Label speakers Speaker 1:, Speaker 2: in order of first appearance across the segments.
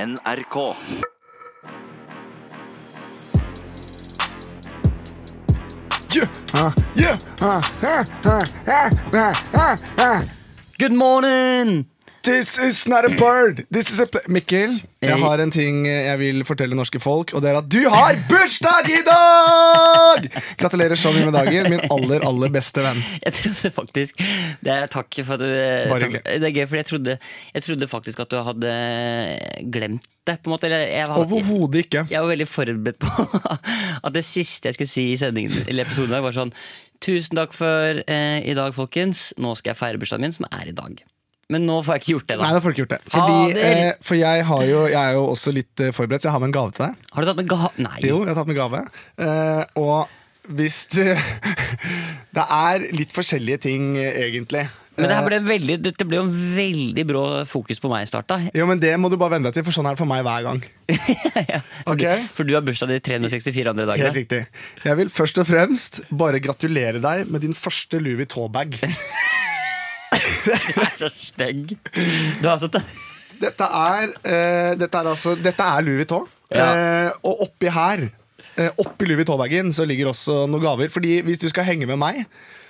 Speaker 1: NRK.
Speaker 2: Good morning!
Speaker 3: This is not a bird, this is a pla- Mikkel, jeg har en ting jeg vil fortelle norske folk, og det er at du har bursdag i dag! Gratulerer så mye med dagen, min aller, aller beste venn.
Speaker 2: Jeg trodde faktisk det er, Takk for at du eh,
Speaker 3: Bare
Speaker 2: takk,
Speaker 3: hyggelig.
Speaker 2: Det er gøy, for jeg trodde, jeg trodde faktisk at du hadde eh, glemt det, på en måte. Eller jeg, var-
Speaker 3: Overhodet ikke.
Speaker 2: jeg var veldig forberedt på at det siste jeg skulle si i sendingen Eller episoden i dag, var sånn Tusen takk for eh, i dag, folkens. Nå skal jeg feire bursdagen min, som er i dag. Men nå får jeg ikke gjort det,
Speaker 3: Nei,
Speaker 2: da.
Speaker 3: da får du ikke gjort det. Fordi,
Speaker 2: Fader!
Speaker 3: eh, for jeg, har jo, jeg er jo også litt eh, forberedt, så jeg har med en gave til deg.
Speaker 2: Har du tatt med ga... Nei.
Speaker 3: Jo, jeg har tatt med gave. Eh, og hvis du Det er litt forskjellige ting, eh, egentlig.
Speaker 2: Men det her ble
Speaker 3: Eh.
Speaker 2: veldig, dette ble jo en veldig brå fokus på meg i starta.
Speaker 3: Jo, men Det må du bare venne deg til, for sånn er det for meg hver gang.
Speaker 2: For,
Speaker 3: Ok.
Speaker 2: du, for du har bursdag de 364 andre dagene.
Speaker 3: Helt riktig. Jeg vil først og fremst bare gratulere deg med din første Louis Vuitton-bag.
Speaker 2: er så stygg. Du har sett det?
Speaker 3: Dette er, eh, dette er altså Dette er Louis Vuitton.
Speaker 2: Ja.
Speaker 3: Eh, og oppi her, eh, oppi Louis Vuitton-bagen, så ligger også noen gaver. Fordi hvis du skal henge med meg,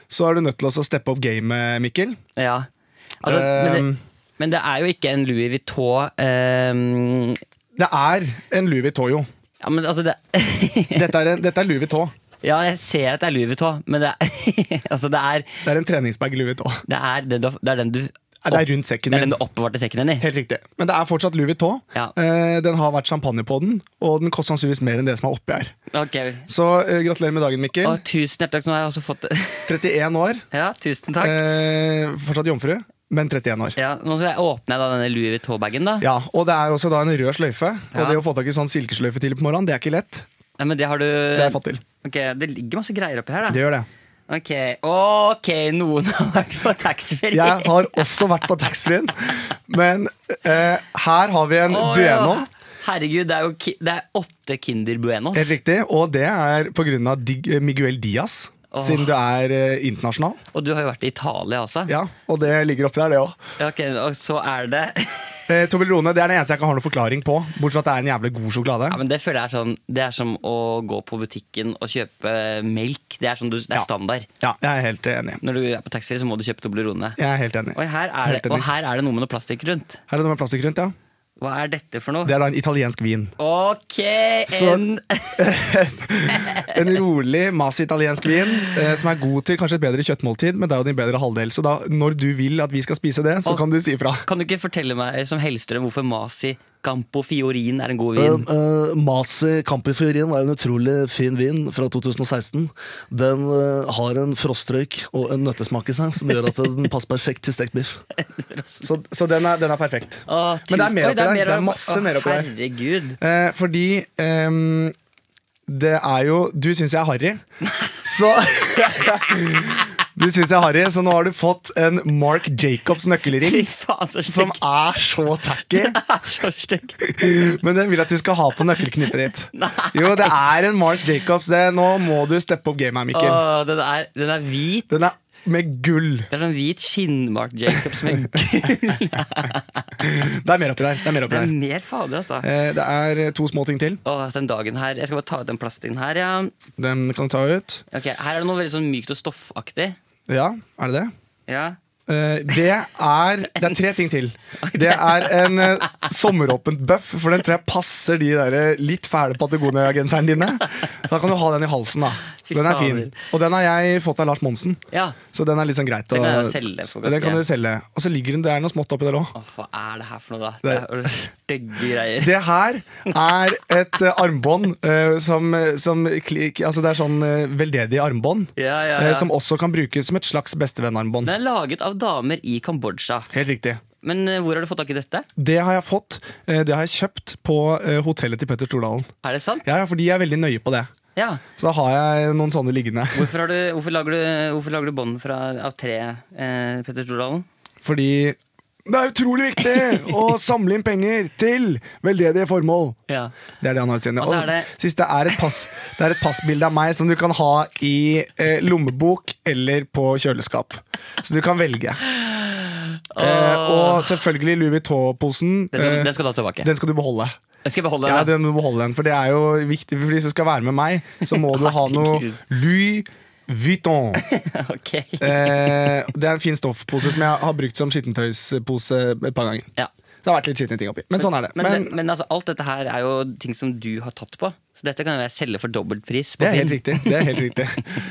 Speaker 3: så er du nødt til også å steppe opp gamet, Mikkel.
Speaker 2: Ja. Altså, men,
Speaker 3: Ehm.
Speaker 2: det, men det er jo ikke en Louis Vuitton ehm,
Speaker 3: Det er en Louis Vuitton, jo.
Speaker 2: Ja, men altså det,
Speaker 3: Dette er, en, dette er Louis Vuitton.
Speaker 2: Ja, jeg ser at det er Louis Vuitton, men det er, altså det er,
Speaker 3: Det er en treningsbag Louis Vuitton.
Speaker 2: det er, den, du, har- det er den du
Speaker 3: Ja, Det er rundt sekken
Speaker 2: det er den
Speaker 3: min.
Speaker 2: du oppbevarte sekken din i.
Speaker 3: Helt riktig. Men det er fortsatt Louis Vuitton.
Speaker 2: Ja.
Speaker 3: Eh, den har vært champagne på den, og den koster sannsynligvis mer enn det som er oppi her.
Speaker 2: Ok.
Speaker 3: Så eh, gratulerer med dagen, Mikkel.
Speaker 2: Og tusen hjertelig takk, nå har jeg også fått
Speaker 3: 31 år.
Speaker 2: Ja, tusen takk.
Speaker 3: Eh, fortsatt jomfru, men 31 år.
Speaker 2: Ja, nå skal jeg åpne da denne Louis Vuitton-bagen, da.
Speaker 3: Ja, Og det er også da en rød sløyfe.
Speaker 2: Ja.
Speaker 3: Og det å få tak i sånn silkesløyfe tidlig på morgenen, det er ikke lett.
Speaker 2: Nei, men det har du
Speaker 3: Det har jeg fått til.
Speaker 2: Ok, det ligger masse greier oppi her,
Speaker 3: Det
Speaker 2: da.
Speaker 3: gjør det.
Speaker 2: Ok, ok, noen har vært på taxfree.
Speaker 3: Jeg har også vært på taxfree-en, men eh, her har vi en
Speaker 2: Å,
Speaker 3: Bueno.
Speaker 2: ja. Herregud, det er jo ki det er åtte Kinder Buenos.
Speaker 3: Helt riktig, og det er på grunn av Dig Miguel Diaz,
Speaker 2: Åh.
Speaker 3: siden du er eh, internasjonal.
Speaker 2: Og du har jo vært i Italia også.
Speaker 3: Ja, Og det ligger oppi der, det òg.
Speaker 2: Ja, ok, og så er det
Speaker 3: Eh, Toblerone det er den eneste jeg ikke har noen forklaring på, bortsett fra at det er en jævlig god sjokolade.
Speaker 2: Ja, men Det føler jeg er sånn Det er som å gå på butikken og kjøpe melk. Det er, sånn du, det er
Speaker 3: Ja.
Speaker 2: standard.
Speaker 3: Ja, jeg er helt enig.
Speaker 2: Når du er på taxfree, så må du kjøpe Toblerone.
Speaker 3: Jeg er helt enig.
Speaker 2: Og, her er det,
Speaker 3: Helt
Speaker 2: og
Speaker 3: enig.
Speaker 2: her er det noe med noe plastikk rundt.
Speaker 3: Her er det med plastikk rundt, ja.
Speaker 2: Hva er dette for noe?
Speaker 3: Det er da en italiensk vin.
Speaker 2: Ok,
Speaker 3: Så-
Speaker 2: en
Speaker 3: En rolig, masse italiensk vin eh, som er god til kanskje et bedre kjøttmåltid, men det er jo din bedre halvdel. Så da, når du vil at vi skal spise det, så
Speaker 2: Og-
Speaker 3: kan du si ifra.
Speaker 2: Kan du ikke fortelle meg som Hellstrøm hvorfor Masi Campo Fiorin er en god vin?
Speaker 3: Um, Eh,
Speaker 4: Uh, Masi Campifiorin er en utrolig fin vin fra 2016. Den eh, har en frostrøyk og en nøttesmak i seg som gjør at den passer perfekt til stekt biff.
Speaker 3: Så, så den, er, den er perfekt.
Speaker 2: Å,
Speaker 3: Men det er
Speaker 2: tusen-
Speaker 3: mer
Speaker 2: Oi,
Speaker 3: oppi der. Det
Speaker 2: opp-
Speaker 3: er masse
Speaker 2: Å,
Speaker 3: mer oppi der.
Speaker 2: Herregud.
Speaker 3: Eh, fordi ehm, det er jo Du syns jeg er harry, så Du syns jeg er harry, så nå har du fått en Mark Jacobs
Speaker 2: Fy
Speaker 3: nøkkelring.
Speaker 2: faen, så
Speaker 3: Som
Speaker 2: stygg.
Speaker 3: er så tacky.
Speaker 2: Så stygg.
Speaker 3: Men den vil at du skal ha på nøkkelknippet ditt. Jo, det er en Mark Jacobs. Det. Nå må du steppe opp gamet her, Mikkel.
Speaker 2: Åh, den, er, den er hvit.
Speaker 3: Den er med gull.
Speaker 2: Det er sånn hvit skinnmark Jacobs med gull.
Speaker 3: Det er mer oppi der. Det er, mer oppi
Speaker 2: Det er
Speaker 3: der.
Speaker 2: mer fader, altså.
Speaker 3: Eh, det er to små ting til.
Speaker 2: Åh, den dagen her Jeg skal bare ta ut den plastikken her, ja.
Speaker 3: Den kan du ta ut.
Speaker 2: Ok, Her er det noe veldig sånn mykt og stoffaktig.
Speaker 3: Ja, er det det?
Speaker 2: Ja.
Speaker 3: Eh, det, er, det er tre ting til. Det er en eh, sommeråpent bøff, for den tror jeg passer de der eh, litt fæle Patagonia-genserne dine. Da kan du ha den i halsen, da. Så den er fin. Og den har jeg fått av Lars Monsen.
Speaker 2: ja.
Speaker 3: Så den er litt sånn greit
Speaker 2: Den kan
Speaker 3: å-
Speaker 2: jeg jo selge for
Speaker 3: Den kan
Speaker 2: ganske-
Speaker 3: du selge. Og så ligger den, det er noe smått oppi der òg.
Speaker 2: Åh, hva er det her for noe, da? Det
Speaker 3: Det-
Speaker 2: er Stygge greier.
Speaker 3: Det her er et eh, armbånd eh, som, som klik, altså Det er sånn eh, veldedig armbånd.
Speaker 2: Ja, ja,
Speaker 3: eh,
Speaker 2: ja.
Speaker 3: som også kan brukes som et slags bestevennarmbånd.
Speaker 2: Den er laget av damer i Kambodsja.
Speaker 3: Helt riktig.
Speaker 2: Men eh, hvor har du fått tak i dette?
Speaker 3: Det har jeg fått. eh, det har jeg kjøpt på eh, hotellet til Petter Stordalen.
Speaker 2: Er det sant?
Speaker 3: Ja, ja, for de er veldig nøye på det.
Speaker 2: Ja.
Speaker 3: Så da har jeg noen sånne liggende.
Speaker 2: Hvorfor, har du, hvorfor lager du, hvorfor lager du bånd fra- av tre, eh, Petter Stordalen?
Speaker 3: Fordi det er utrolig viktig å samle inn penger til veldedige formål.
Speaker 2: Ja.
Speaker 3: Det er det han har å si.
Speaker 2: Og så
Speaker 3: Og
Speaker 2: er det-
Speaker 3: siste er et, pass, det er et passbilde av meg som du kan ha i eh, lommebok eller på kjøleskap. Så du kan velge. Eh, og selvfølgelig Louis Vuitton-posen.
Speaker 2: Den skal,
Speaker 3: eh,
Speaker 2: den skal du ha tilbake.
Speaker 3: den skal du beholde.
Speaker 2: Skal jeg beholde den?
Speaker 3: Ja,
Speaker 2: da?
Speaker 3: den må du beholde den, for det er jo viktig. For hvis du skal være med meg, så må du ha noe
Speaker 2: Herregud.
Speaker 3: Louis Vuitton.
Speaker 2: Ok.
Speaker 3: Eh, det er en fin stoffpose som jeg har brukt som skittentøyspose et par ganger.
Speaker 2: Ja.
Speaker 3: Så det har vært litt skitne ting oppi. Men sånn er det.
Speaker 2: Men, men, altså, alt dette her er jo ting som du har tatt på. Så dette kan jo jeg selge for dobbeltpris. På
Speaker 3: det er
Speaker 2: Finn.
Speaker 3: helt riktig. Det er helt riktig.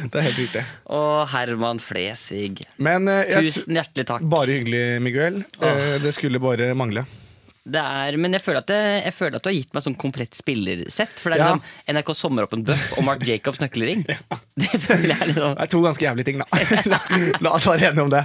Speaker 3: Det er helt riktig.
Speaker 2: Og Herman Flesvig.
Speaker 3: Men eh, jeg, s-
Speaker 2: Tusen hjertelig takk.
Speaker 3: bare hyggelig, Miguel. Eh, det skulle bare mangle.
Speaker 2: Det er, men jeg føler, at det, jeg føler at du har gitt meg sånn komplett spillersett. For det er
Speaker 3: Ja.
Speaker 2: liksom NRK Sommeråpen Bøff og Mark Jacobs nøkkelring. Det føler jeg er liksom
Speaker 3: Det er to ganske jævlige ting, da. La, la oss være enige om det.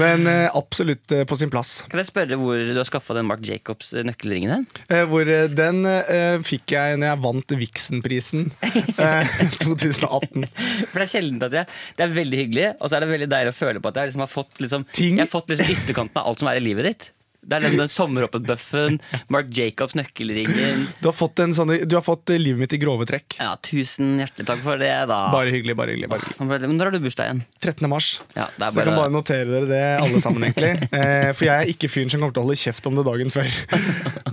Speaker 3: Men eh, absolutt eh, på sin plass.
Speaker 2: Kan jeg spørre hvor du har skaffa den Mark Jacobs nøkkelringen hen?
Speaker 3: Eh, hvor eh, den eh, fikk jeg når jeg vant Vixen-prisen eh, 2018.
Speaker 2: For Det er sjeldent at jeg Det er veldig hyggelig, og så er det veldig deilig å føle på at jeg liksom har fått liksom,
Speaker 3: Ting.
Speaker 2: Jeg har fått liksom ytterkanten av alt som er i livet ditt. Det er den, den sommeråpen-bøffen, Mark Jacobs nøkkelringen
Speaker 3: Du har fått, en sånn, du har fått eh, livet mitt i grove trekk.
Speaker 2: Ja, Tusen hjertelig takk for det, da.
Speaker 3: Bare hyggelig, bare hyggelig. bare hyggelig.
Speaker 2: Sånn ble det. Men når har du bursdag igjen?
Speaker 3: 13. mars.
Speaker 2: Ja, det er
Speaker 3: Så dere kan
Speaker 2: bare-
Speaker 3: bare notere dere det, alle sammen, egentlig. Eh, for jeg er ikke fyren som kommer til å holde kjeft om det dagen før.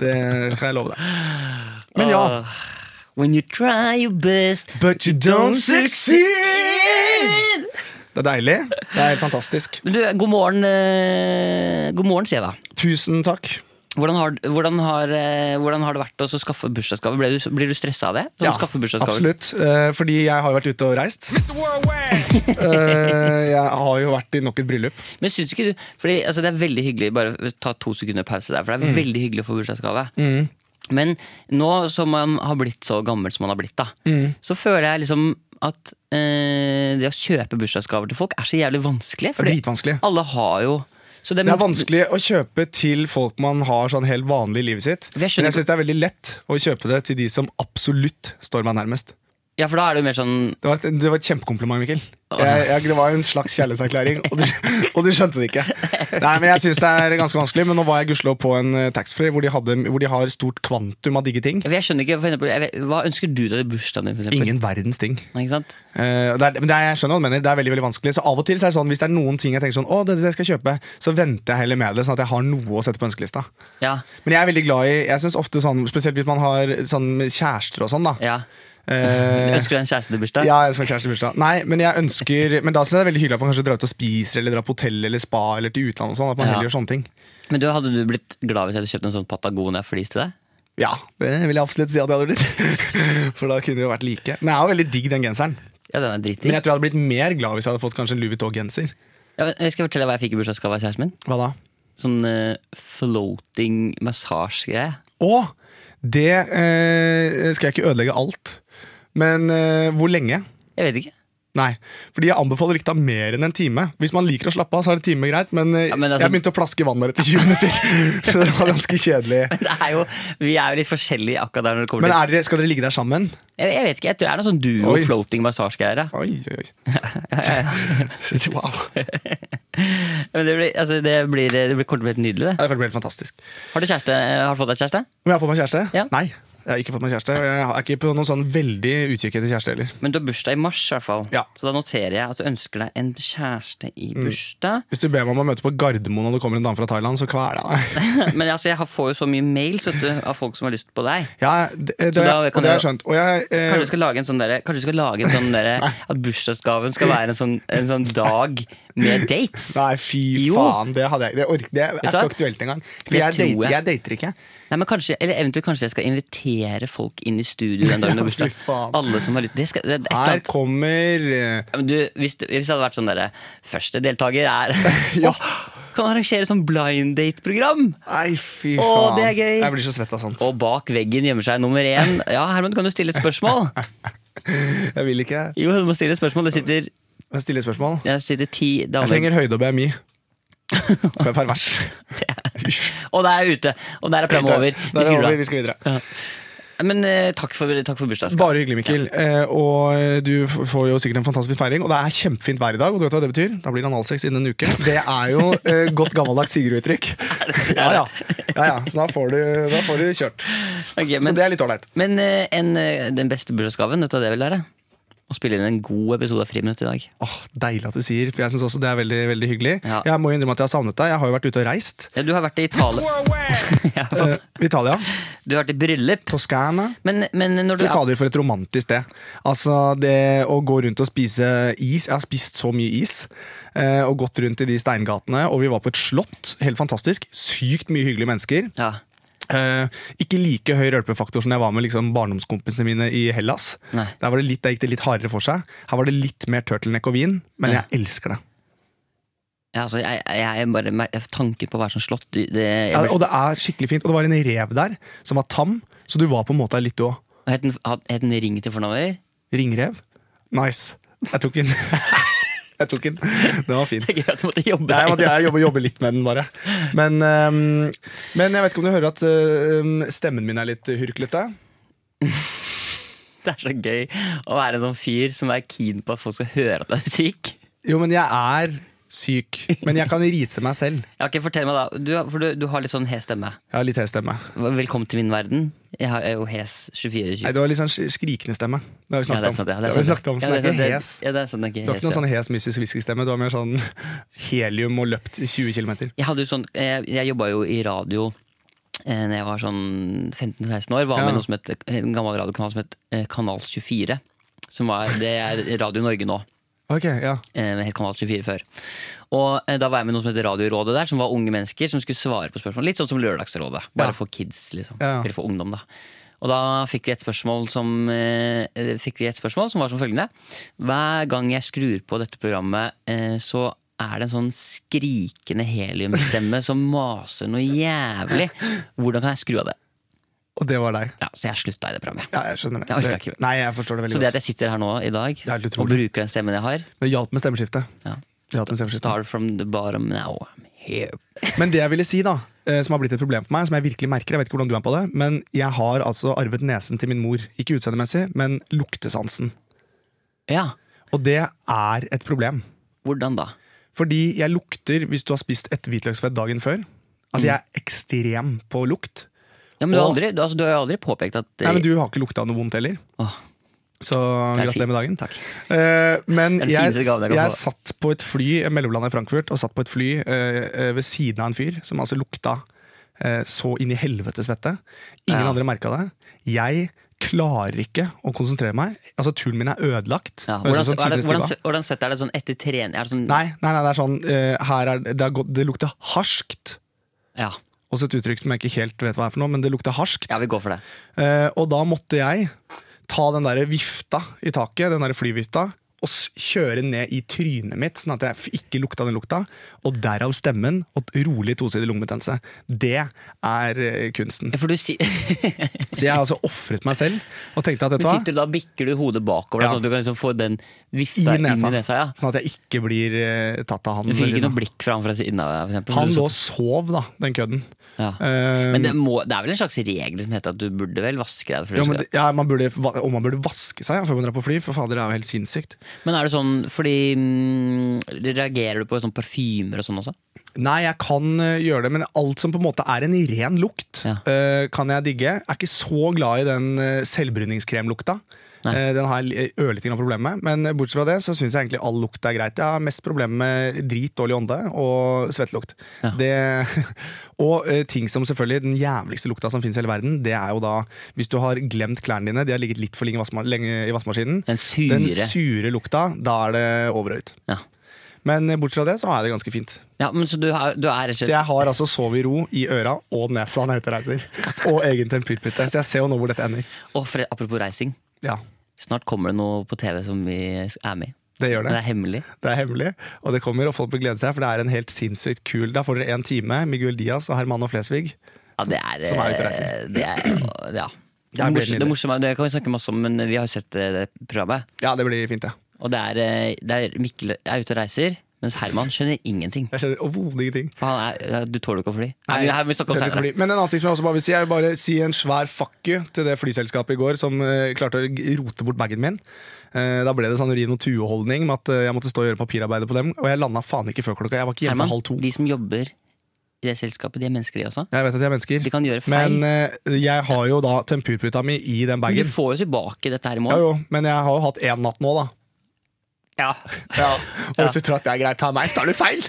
Speaker 3: Det kan jeg love deg. Men ja.
Speaker 2: Åh. When you try your best
Speaker 3: But you
Speaker 2: don't succeed!
Speaker 3: Det er deilig. Det er fantastisk.
Speaker 2: Men du, god morgen, eh, god morgen sier jeg da.
Speaker 3: Tusen takk.
Speaker 2: Hvordan har, hvordan har, eh, hvordan har det vært å så skaffe bursdagsgave? Blir du, blir du stressa av det? Sånn, skaffe bursdagsgave?
Speaker 3: absolutt. Eh, fordi jeg har jo vært ute og reist. Eh, jeg har jo vært i nok et bryllup.
Speaker 2: Men syns ikke du fordi, altså, Det er veldig hyggelig Bare ta to sekunder pause der, for det er
Speaker 3: Mm.
Speaker 2: veldig hyggelig å få bursdagsgave. Men nå som man har blitt så gammel som man har blitt, da,
Speaker 3: Mm.
Speaker 2: så føler jeg liksom at eh, det å kjøpe bursdagsgaver til folk er så jævlig vanskelig.
Speaker 3: Det er dritvanskelig.
Speaker 2: alle har jo så det,
Speaker 3: Det er vanskelig å kjøpe til folk man har sånn helt vanlig i livet sitt.
Speaker 2: Jeg skjønner
Speaker 3: Men jeg
Speaker 2: ikke-
Speaker 3: syns det er veldig lett å kjøpe det til de som absolutt står meg nærmest.
Speaker 2: Ja, for da er det jo mer sånn
Speaker 3: Det var et, det var et kjempekompliment, Mikkel. Jeg, jeg, det var en slags kjærlighetserklæring, og du, og du skjønte det ikke. Nei, men Jeg syns det er ganske vanskelig, men nå var jeg gudskjelov på en eh, taxfree hvor, de hadde- hvor de har stort kvantum av digge ting.
Speaker 2: for Jeg skjønner ikke, for eksempel, jeg vet, Hva ønsker du deg i bursdagen din? For eksempel?
Speaker 3: Ingen verdens ting.
Speaker 2: Nei, Ikke sant?
Speaker 3: Eh, og det er, men det er, jeg skjønner hva du mener, det er veldig veldig vanskelig. Så av og til så er det sånn, Hvis det er noen ting jeg tenker sånn, å, det, er det jeg skal kjøpe, så venter jeg heller med det, sånn at jeg har noe å sette på ønskelista.
Speaker 2: Ja,
Speaker 3: Men jeg er veldig glad i jeg synes ofte sånn, Spesielt hvis man har sånn kjærester og sånn. da
Speaker 2: ja.
Speaker 3: Eh,
Speaker 2: Ønsker du deg en kjæreste til bursdag?
Speaker 3: ja, jeg ønsker kjæreste i bursdag. Nei, men jeg ønsker Men da synes jeg det er veldig hyggelig at man kanskje drar ut og spiser eller drar på hotell eller spa eller til utlandet. og sånn At man
Speaker 2: Ja.
Speaker 3: heller gjør sånne ting.
Speaker 2: Men du, Hadde du blitt glad hvis jeg hadde kjøpt en sånn Patagonia-flis til deg?
Speaker 3: Ja, det vil jeg absolutt si at jeg hadde blitt. For da kunne vi jo vært like. Men jeg er jo veldig digg den genseren.
Speaker 2: Ja, den er dritdigg.
Speaker 3: Men jeg tror jeg hadde blitt mer glad hvis jeg hadde fått kanskje en Louis Vuitton-genser.
Speaker 2: Ja, men jeg skal fortelle hva jeg fikk i bursdagsgave av kjæresten min.
Speaker 3: Hva da?
Speaker 2: Sånn eh, floating massasje-greie.
Speaker 3: Og det eh, skal jeg ikke ødelegge alt. Men eh, hvor lenge?
Speaker 2: Jeg vet ikke.
Speaker 3: Nei, fordi jeg anbefaler ikke ta mer enn en time. Hvis man liker å slappe av, så er en time greit, men, eh,
Speaker 2: Ja, men altså-
Speaker 3: jeg begynte å plaske i vannet etter 20 minutter. så det var ganske kjedelig.
Speaker 2: Det er jo, vi er jo litt forskjellige akkurat der når det kommer
Speaker 3: Men
Speaker 2: til
Speaker 3: er dere, skal dere ligge der sammen?
Speaker 2: jeg, jeg vet ikke, jeg tror det er noe sånn duo
Speaker 3: Oi.
Speaker 2: floating massasje-greier. ja.
Speaker 3: Oi, oi, oi. wow.
Speaker 2: Men det blir, altså, det blir, det blir kort og slett nydelig, det.
Speaker 3: Det hadde vært helt fantastisk.
Speaker 2: Har du kjæreste? Har du fått deg kjæreste?
Speaker 3: Om jeg har fått meg kjæreste?
Speaker 2: Ja.
Speaker 3: Nei. Jeg har ikke fått meg kjæreste, og jeg er ikke på noen sånn veldig utkikk etter kjæreste heller.
Speaker 2: Men du har bursdag i mars, i hvert fall.
Speaker 3: Ja. Mm.
Speaker 2: Så da noterer jeg at du ønsker deg en kjæreste i bursdag.
Speaker 3: Hvis du ber meg om å møte på Gardermoen og det kommer en dame fra Thailand, så kveler jeg deg.
Speaker 2: Men altså, jeg har- får jo så mye mails vet du, av folk som har lyst på deg.
Speaker 3: Ja, det, det,
Speaker 2: Så da
Speaker 3: og
Speaker 2: kan
Speaker 3: det har jeg
Speaker 2: jeg-
Speaker 3: skjønt. Og jeg, eh,
Speaker 2: Kanskje vi skal lage en sånn derre Kanskje vi skal lage en sånn derre At bursdagsgaven skal være en sånn, en sånn dag med dates.
Speaker 3: Nei, fy
Speaker 2: Jo.
Speaker 3: faen. Det, hadde jeg, det, ork, det er
Speaker 2: du
Speaker 3: ikke
Speaker 2: hva?
Speaker 3: aktuelt engang. For
Speaker 2: Det
Speaker 3: jeg,
Speaker 2: tror
Speaker 3: date,
Speaker 2: jeg.
Speaker 3: jeg dater ikke.
Speaker 2: Nei, men kanskje, Eller eventuelt kanskje jeg skal invitere folk inn i studio den dagen du har
Speaker 3: Ja, fy
Speaker 2: bursdag.
Speaker 3: faen.
Speaker 2: Alle som har lyst det skal, det, er et eller
Speaker 3: Her
Speaker 2: annet.
Speaker 3: kommer eh,
Speaker 2: Ja, men du, hvis, du- hvis det hadde vært sånn derre Første deltaker er
Speaker 3: Ja.
Speaker 2: Åh, Kan arrangere sånn blind date-program!
Speaker 3: Nei, fy faen.
Speaker 2: Å, det er gøy.
Speaker 3: Jeg blir så svett av sånt.
Speaker 2: Og bak veggen gjemmer seg nummer én. Ja, Herman, kan du stille et spørsmål?
Speaker 3: Jeg vil ikke.
Speaker 2: Jo, du må stille et spørsmål. Det sitter,
Speaker 3: Men stille spørsmål.
Speaker 2: det sitter ti
Speaker 3: Jeg
Speaker 2: damer
Speaker 3: trenger høyde og BMI. For jeg er pervers.
Speaker 2: Og der er ute! Og der er programmet over.
Speaker 3: Da er
Speaker 2: Vi
Speaker 3: det
Speaker 2: skrur
Speaker 3: over.
Speaker 2: av.
Speaker 3: Vi skal videre.
Speaker 2: Men eh, takk for, takk for bursdagsgaven.
Speaker 3: Bare hyggelig, Mikkel. Eh, og du f- får jo sikkert en fantastisk feiring. Og det er kjempefint vær i dag. Og du vet hva det betyr? Da blir det analsex innen en uke. Det er jo eh, godt gammeldags Sigurd-uttrykk. Ja, ja. ja, ja. Så da får, du, da får du kjørt.
Speaker 2: Ok,
Speaker 3: Så
Speaker 2: men
Speaker 3: det er litt ålreit.
Speaker 2: men eh, en, eh, den beste bursdagsgaven, vet du hva det vil være? å spille inn en god episode av Friminutt i dag.
Speaker 3: Åh, Deilig at du sier, for jeg syns også det er veldig veldig hyggelig.
Speaker 2: Ja.
Speaker 3: Jeg må jo innrømme at jeg har savnet deg. Jeg har jo vært ute og reist.
Speaker 2: Ja, du har vært i Italia. Ja,
Speaker 3: Eh,
Speaker 2: faen.
Speaker 3: Italia.
Speaker 2: du har vært i bryllup.
Speaker 3: Toskana.
Speaker 2: Men, men når du
Speaker 3: Fy fader, for et romantisk sted. Altså, det å gå rundt og spise is Jeg har spist så mye is. eh, Og gått rundt i de steingatene. Og vi var på et slott. Helt fantastisk. Sykt mye hyggelige mennesker.
Speaker 2: ja.
Speaker 3: Eh, ikke like høy rølpefaktor som jeg var med liksom, barndomskompisene mine i Hellas.
Speaker 2: Nei.
Speaker 3: Der var det litt, der gikk det litt hardere for seg. Her var det litt mer turtleneck og vin, men
Speaker 2: Ja.
Speaker 3: jeg elsker det.
Speaker 2: Ja, altså, jeg, jeg, jeg bare mer- Tanken på å være sånn slått det, jeg,
Speaker 3: Ja,
Speaker 2: ble-
Speaker 3: Eh, og det er skikkelig fint. Og det var en rev der som var tam, så du var på en måte litt du òg.
Speaker 2: Het den, het den Ring til fornavner?
Speaker 3: Ringrev. Nice. Jeg tok den. jeg tok den. Den var fin.
Speaker 2: Det er gøy at du måtte jobbe
Speaker 3: Nei, jeg, måtte,
Speaker 2: deg.
Speaker 3: jeg jobber, jobber litt med den, bare. Men, øhm, men jeg vet ikke om du hører at øhm, stemmen min er litt hurklete.
Speaker 2: Det er så gøy å være en sånn fyr som er keen på at folk skal høre at du er syk.
Speaker 3: Jo, men jeg er syk. Men jeg kan rise meg selv.
Speaker 2: Ja, ok, fortell meg da, du, For du, du har litt sånn hes stemme.
Speaker 3: Jeg har litt hes stemme.
Speaker 2: Velkommen til min verden. Jeg har- jeg er jo hes
Speaker 3: Nei,
Speaker 2: 24-20.
Speaker 3: du har litt sånn sk- skrikende stemme. Det har vi
Speaker 2: Ja,
Speaker 3: snakket
Speaker 2: det er
Speaker 3: om.
Speaker 2: sant. Ja,
Speaker 3: Det
Speaker 2: det er
Speaker 3: har vi
Speaker 2: sant,
Speaker 3: snakket om, så
Speaker 2: ja. Ja,
Speaker 3: det er
Speaker 2: det-
Speaker 3: ikke hes.
Speaker 2: Ja, det er sant, det er
Speaker 3: Du
Speaker 2: ikke
Speaker 3: har
Speaker 2: hes.
Speaker 3: ikke noe
Speaker 2: ja.
Speaker 3: sånn hes Mrs. Whisky-stemme. Du har mer sånn helium og løpt i 20 km.
Speaker 2: Jeg hadde jo sånn, jeg, jeg jobba jo i radio eh, Når jeg var sånn 15-16 år. Var
Speaker 3: Ja.
Speaker 2: med i noe som het, en gammel radiokanal som het eh, Kanal 24. Som var, det er Radio Norge nå.
Speaker 3: Ok, ja.
Speaker 2: eh, het Kanal 24 før. Og eh, da var jeg med i noe som heter Radiorådet der, som var unge mennesker som skulle svare på spørsmål. Litt sånn som Lørdagsrådet,
Speaker 3: Ja.
Speaker 2: bare for kids, liksom.
Speaker 3: Ja.
Speaker 2: Eller for ungdom, da. Og da fikk vi et spørsmål som eh, eh, Fikk vi et spørsmål som var som følgende. Hver gang jeg skrur på dette programmet, eh, så er det en sånn skrikende heliumstemme som maser noe jævlig. Hvordan kan jeg skru av det?
Speaker 3: Og det var deg.
Speaker 2: Ja, Så jeg slutta i det programmet.
Speaker 3: Ja, jeg skjønner det.
Speaker 2: Jeg orker ikke mer.
Speaker 3: Nei, jeg forstår det
Speaker 2: Så
Speaker 3: veldig
Speaker 2: det
Speaker 3: godt.
Speaker 2: at jeg sitter her nå i dag
Speaker 3: er helt
Speaker 2: og
Speaker 3: utrolig.
Speaker 2: bruker den stemmen jeg har
Speaker 3: Det hjalp med stemmeskiftet.
Speaker 2: ja.
Speaker 3: Det hjalp med stemmeskiftet.
Speaker 2: Start from the bottom now. I'm here.
Speaker 3: Men det jeg ville si, da, eh, som har blitt et problem for meg, som jeg virkelig merker, jeg vet ikke hvordan du er på det, men jeg har altså arvet nesen til min mor. Ikke utseendemessig, men luktesansen.
Speaker 2: Ja,
Speaker 3: Og det er et problem.
Speaker 2: hvordan da?
Speaker 3: Fordi jeg lukter hvis du har spist et hvitløksfett dagen før.
Speaker 2: Mm.
Speaker 3: Altså, jeg er ekstrem på lukt.
Speaker 2: Ja, men du, har
Speaker 3: Og-
Speaker 2: aldri, du, altså, du har jo aldri påpekt at det,
Speaker 3: Nei, men du har ikke lukta noe vondt heller.
Speaker 2: Åh,
Speaker 3: Så
Speaker 2: det er
Speaker 3: gratulerer med dagen.
Speaker 2: fint. Takk.
Speaker 3: Eh, men
Speaker 2: Den
Speaker 3: jeg,
Speaker 2: fineste gaven jeg kan
Speaker 3: jeg
Speaker 2: få.
Speaker 3: satt på et fly jeg mellomlandet i Frankfurt og satt på et fly eh, eh, ved siden av en fyr som altså lukta eh, så inn i helvete svette. Ingen
Speaker 2: Ja.
Speaker 3: andre merka det. Jeg klarer ikke å konsentrere meg. Altså Turen min er ødelagt.
Speaker 2: Ja,
Speaker 3: Høres ut
Speaker 2: hvordan,
Speaker 3: som
Speaker 2: er det,
Speaker 3: tidenes
Speaker 2: hvordan,
Speaker 3: tuba.
Speaker 2: hvordan sett er det sånn etter trening? Er det sånn,
Speaker 3: Nei, nei, nei, det er sånn eh, her er, det, det, er godt, det lukter harskt.
Speaker 2: Ja,
Speaker 3: Også et uttrykk som jeg ikke helt vet hva er for noe, men det lukter harskt.
Speaker 2: ja, vi går for det.
Speaker 3: Eh, og da måtte jeg ta den der vifta i taket, den der flyvifta, og s- kjøre ned i trynet mitt, sånn at jeg f- ikke lukta den lukta. Og derav stemmen og et rolig tosidig lungebetennelse. Det er eh, kunsten.
Speaker 2: For du, si,
Speaker 3: Så jeg har altså ofret meg selv og tenkte at vet du hva,
Speaker 2: sitter du da og bikker du hodet bakover,
Speaker 3: Ja.
Speaker 2: sånn at du kan liksom få den vifta
Speaker 3: i
Speaker 2: inn
Speaker 3: nesa.
Speaker 2: i nesa? ja.
Speaker 3: Sånn at jeg ikke blir eh, tatt av han.
Speaker 2: Du fikk
Speaker 3: ved
Speaker 2: ikke
Speaker 3: siden
Speaker 2: noe
Speaker 3: av.
Speaker 2: blikk fra han fra siden av deg? For eksempel,
Speaker 3: Han
Speaker 2: så du
Speaker 3: lå
Speaker 2: satt-
Speaker 3: og sov, da, den kødden.
Speaker 2: ja.
Speaker 3: Eh,
Speaker 2: Men det, må, det er vel en slags regel som heter at du burde vel vaske deg? før du
Speaker 3: ja,
Speaker 2: skal-
Speaker 3: men, det- ja, man burde, va- og man burde vaske seg ja, før man drar på fly, for fader, det er jo helt sinnssykt.
Speaker 2: Men er det sånn fordi mm, Reagerer du på sånn parfymer og sånn også?
Speaker 3: Nei, jeg kan øh, gjøre det, men alt som på en måte er en ren lukt,
Speaker 2: Ja.
Speaker 3: øh, kan jeg digge. Jeg er ikke så glad i den øh, selvbruningskremlukta.
Speaker 2: Nei.
Speaker 3: Eh, den har jeg li- ørlite grann problemer med, men eh, bortsett fra det så syns jeg egentlig all lukt er greit. Jeg har mest problemer med drit, dårlig ånde og svettlukt.
Speaker 2: Ja.
Speaker 3: Det, og eh, ting som selvfølgelig den jævligste lukta som fins i hele verden, det er jo da hvis du har glemt klærne dine, de har ligget litt for lenge, i vaskema- lenge i vaskemaskinen.
Speaker 2: Den sure
Speaker 3: Den sure lukta, da er det over og ut.
Speaker 2: ja.
Speaker 3: Men eh, bortsett fra det så har jeg det ganske fint.
Speaker 2: ja, men Så du, har- du er rett og
Speaker 3: Så
Speaker 2: slett
Speaker 3: jeg har altså sovet i ro i øra og nesa når jeg er ute og reiser. Og egen tempurputte. Så jeg ser jo nå hvor dette ender.
Speaker 2: Og for, apropos reising.
Speaker 3: Ja,
Speaker 2: Snart kommer det noe på TV som vi er med i.
Speaker 3: det gjør
Speaker 2: Det
Speaker 3: det.
Speaker 2: er hemmelig.
Speaker 3: Det er hemmelig, og det kommer, og folk bør glede seg, for det er en helt sinnssykt kul Da får dere én time. Miguel Diaz og Hermano Flesvig.
Speaker 2: Ja, det er, eh,
Speaker 3: Som er ute og reiser.
Speaker 2: Det er, ja. Det,
Speaker 3: blir
Speaker 2: morsomme,
Speaker 3: nydelig.
Speaker 2: det, morsomme, det kan vi snakke masse om, men vi har jo sett eh, det programmet.
Speaker 3: Ja, det blir fint, det.
Speaker 2: Og det er, eh, det er Mikkel er ute og reiser, mens Herman skjønner ingenting.
Speaker 3: Jeg skjønner overhodet ingenting.
Speaker 2: For han er, ja, du tåler ikke å fly. Nei, vi- her må vi snakke om
Speaker 3: skjønner ikke
Speaker 2: senere.
Speaker 3: fordi- Men en annen ting som jeg også bare vil si, jeg vil bare si en svær fuck you til det flyselskapet i går som eh, klarte å g- rote bort bagen min. Eh, da ble det sånn Rino Tue-holdning med at eh, jeg måtte stå og gjøre papirarbeidet på dem, og jeg landa faen ikke før klokka. Jeg var ikke hjemme
Speaker 2: Herman,
Speaker 3: for halv to.
Speaker 2: de som jobber i det selskapet. De er mennesker, de også.
Speaker 3: Jeg vet at de er mennesker.
Speaker 2: De kan gjøre feil.
Speaker 3: Men eh, jeg har jo da tempurputa mi i den
Speaker 2: Men du
Speaker 3: bagen.
Speaker 2: får jo tilbake dette her i
Speaker 3: Ja,
Speaker 2: morgen.
Speaker 3: jo, men jeg har jo hatt én natt nå, da.
Speaker 2: Ja,
Speaker 3: Og hvis du tror at det er greit, ta meg, så tar du feil!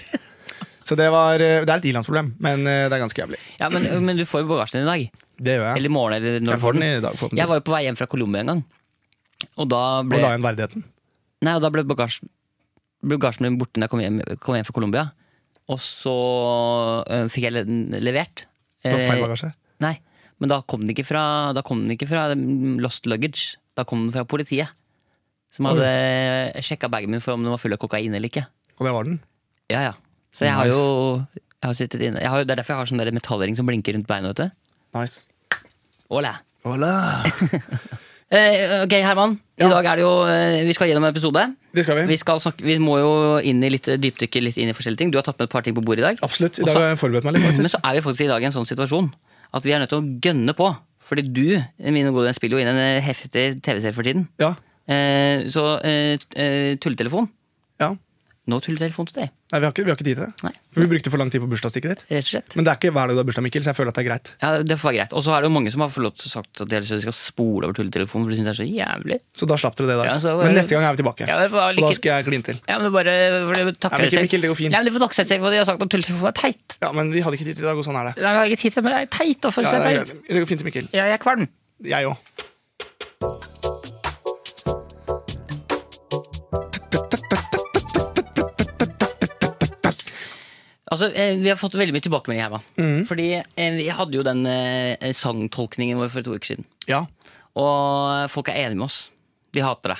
Speaker 3: Så det, var, eh, det er et ilandsproblem, men eh, det er ganske jævlig.
Speaker 2: ja men, men du får jo bagasjen din i dag.
Speaker 3: Det gjør jeg.
Speaker 2: Eller i morgen, eller når
Speaker 3: Jeg
Speaker 2: du får
Speaker 3: får den
Speaker 2: den.
Speaker 3: i dag, forhåpentligvis.
Speaker 2: Jeg var jo på vei hjem fra Colombia en gang. Og da
Speaker 3: Og
Speaker 2: ble,
Speaker 3: la igjen verdigheten.
Speaker 2: nei, og da ble bagasjen, ble bagasjen min borte når jeg kom hjem, kom hjem fra Colombia. Og så øh, fikk jeg le- den levert.
Speaker 3: Det var feil
Speaker 2: Eh,
Speaker 3: bagasje.
Speaker 2: nei, men da kom den ikke fra, da kom den ikke fra mm, lost luggage. Da kom den fra politiet. Som hadde sjekka bagen min for om den var full av kokain eller ikke.
Speaker 3: Og det var den.
Speaker 2: Ja, ja. Så jeg har
Speaker 3: Nice.
Speaker 2: jo jeg har sittet inne. Jeg har, jo- det er derfor jeg har sånn der metallring som blinker rundt beina. vet du.
Speaker 3: Nice.
Speaker 2: Hola.
Speaker 4: Voilà.
Speaker 2: Eh, ok, Herman. I
Speaker 3: Ja.
Speaker 2: dag er det jo eh, Vi skal gjennom en episode.
Speaker 3: Det skal vi.
Speaker 2: Vi, skal snakke, vi må jo inn i litt dypdykke litt inn i forskjellige ting. Du har tatt med et par ting på bordet i dag.
Speaker 3: Absolutt. I dag har jeg forberedt meg litt,
Speaker 2: Men
Speaker 3: faktisk.
Speaker 2: så er vi faktisk i dag i en sånn situasjon at vi er nødt til å gønne på. Fordi du mine gode venn, spiller jo inn en eh, heftig TV-serie for tiden.
Speaker 3: Ja.
Speaker 2: Eh, så eh, t- eh, tulletelefon.
Speaker 3: ja.
Speaker 2: Nå tulletelefon til deg,
Speaker 3: Nei, vi har, ikke, vi har ikke tid til det.
Speaker 2: Nei.
Speaker 3: For vi brukte for lang tid på bursdagsstikket ditt.
Speaker 2: rett og slett.
Speaker 3: Men det er ikke hver dag du har bursdag, Mikkel, så jeg føler at det er greit.
Speaker 2: Ja, det får være greit. Og så er det jo mange som har fått lov til å sagt at de har lyst til at de skal spole over tulletelefonen, for de syns det er så jævlig.
Speaker 3: Så da slapp dere det i dag.
Speaker 2: Ja, så-
Speaker 3: Men neste gang er vi tilbake.
Speaker 2: Ja, men for-
Speaker 3: og da skal jeg kline til.
Speaker 2: Ja, men det bare for det takker
Speaker 3: Nei, men
Speaker 2: seg.
Speaker 3: Mikkel, det går fint.
Speaker 2: Nei, men De får takke seg selv for at de har sagt at tulletelefonen er teit.
Speaker 3: Ja, men vi hadde ikke tid til i dag, og sånn er det.
Speaker 2: Nei, jeg har ikke tid til det, men det er teit. Og
Speaker 3: Ja, det, er
Speaker 2: følelse er
Speaker 3: greit.
Speaker 2: teit.
Speaker 3: det går fint, Mikkel.
Speaker 2: Ja, jeg er kvalm.
Speaker 3: Jeg òg.
Speaker 2: Altså, eh, Vi har fått veldig mye tilbakemelding her. Mm. Fordi eh, Vi hadde jo den eh, sangtolkningen vår for to uker siden.
Speaker 3: Ja.
Speaker 2: Og folk er enige med oss. De hater det.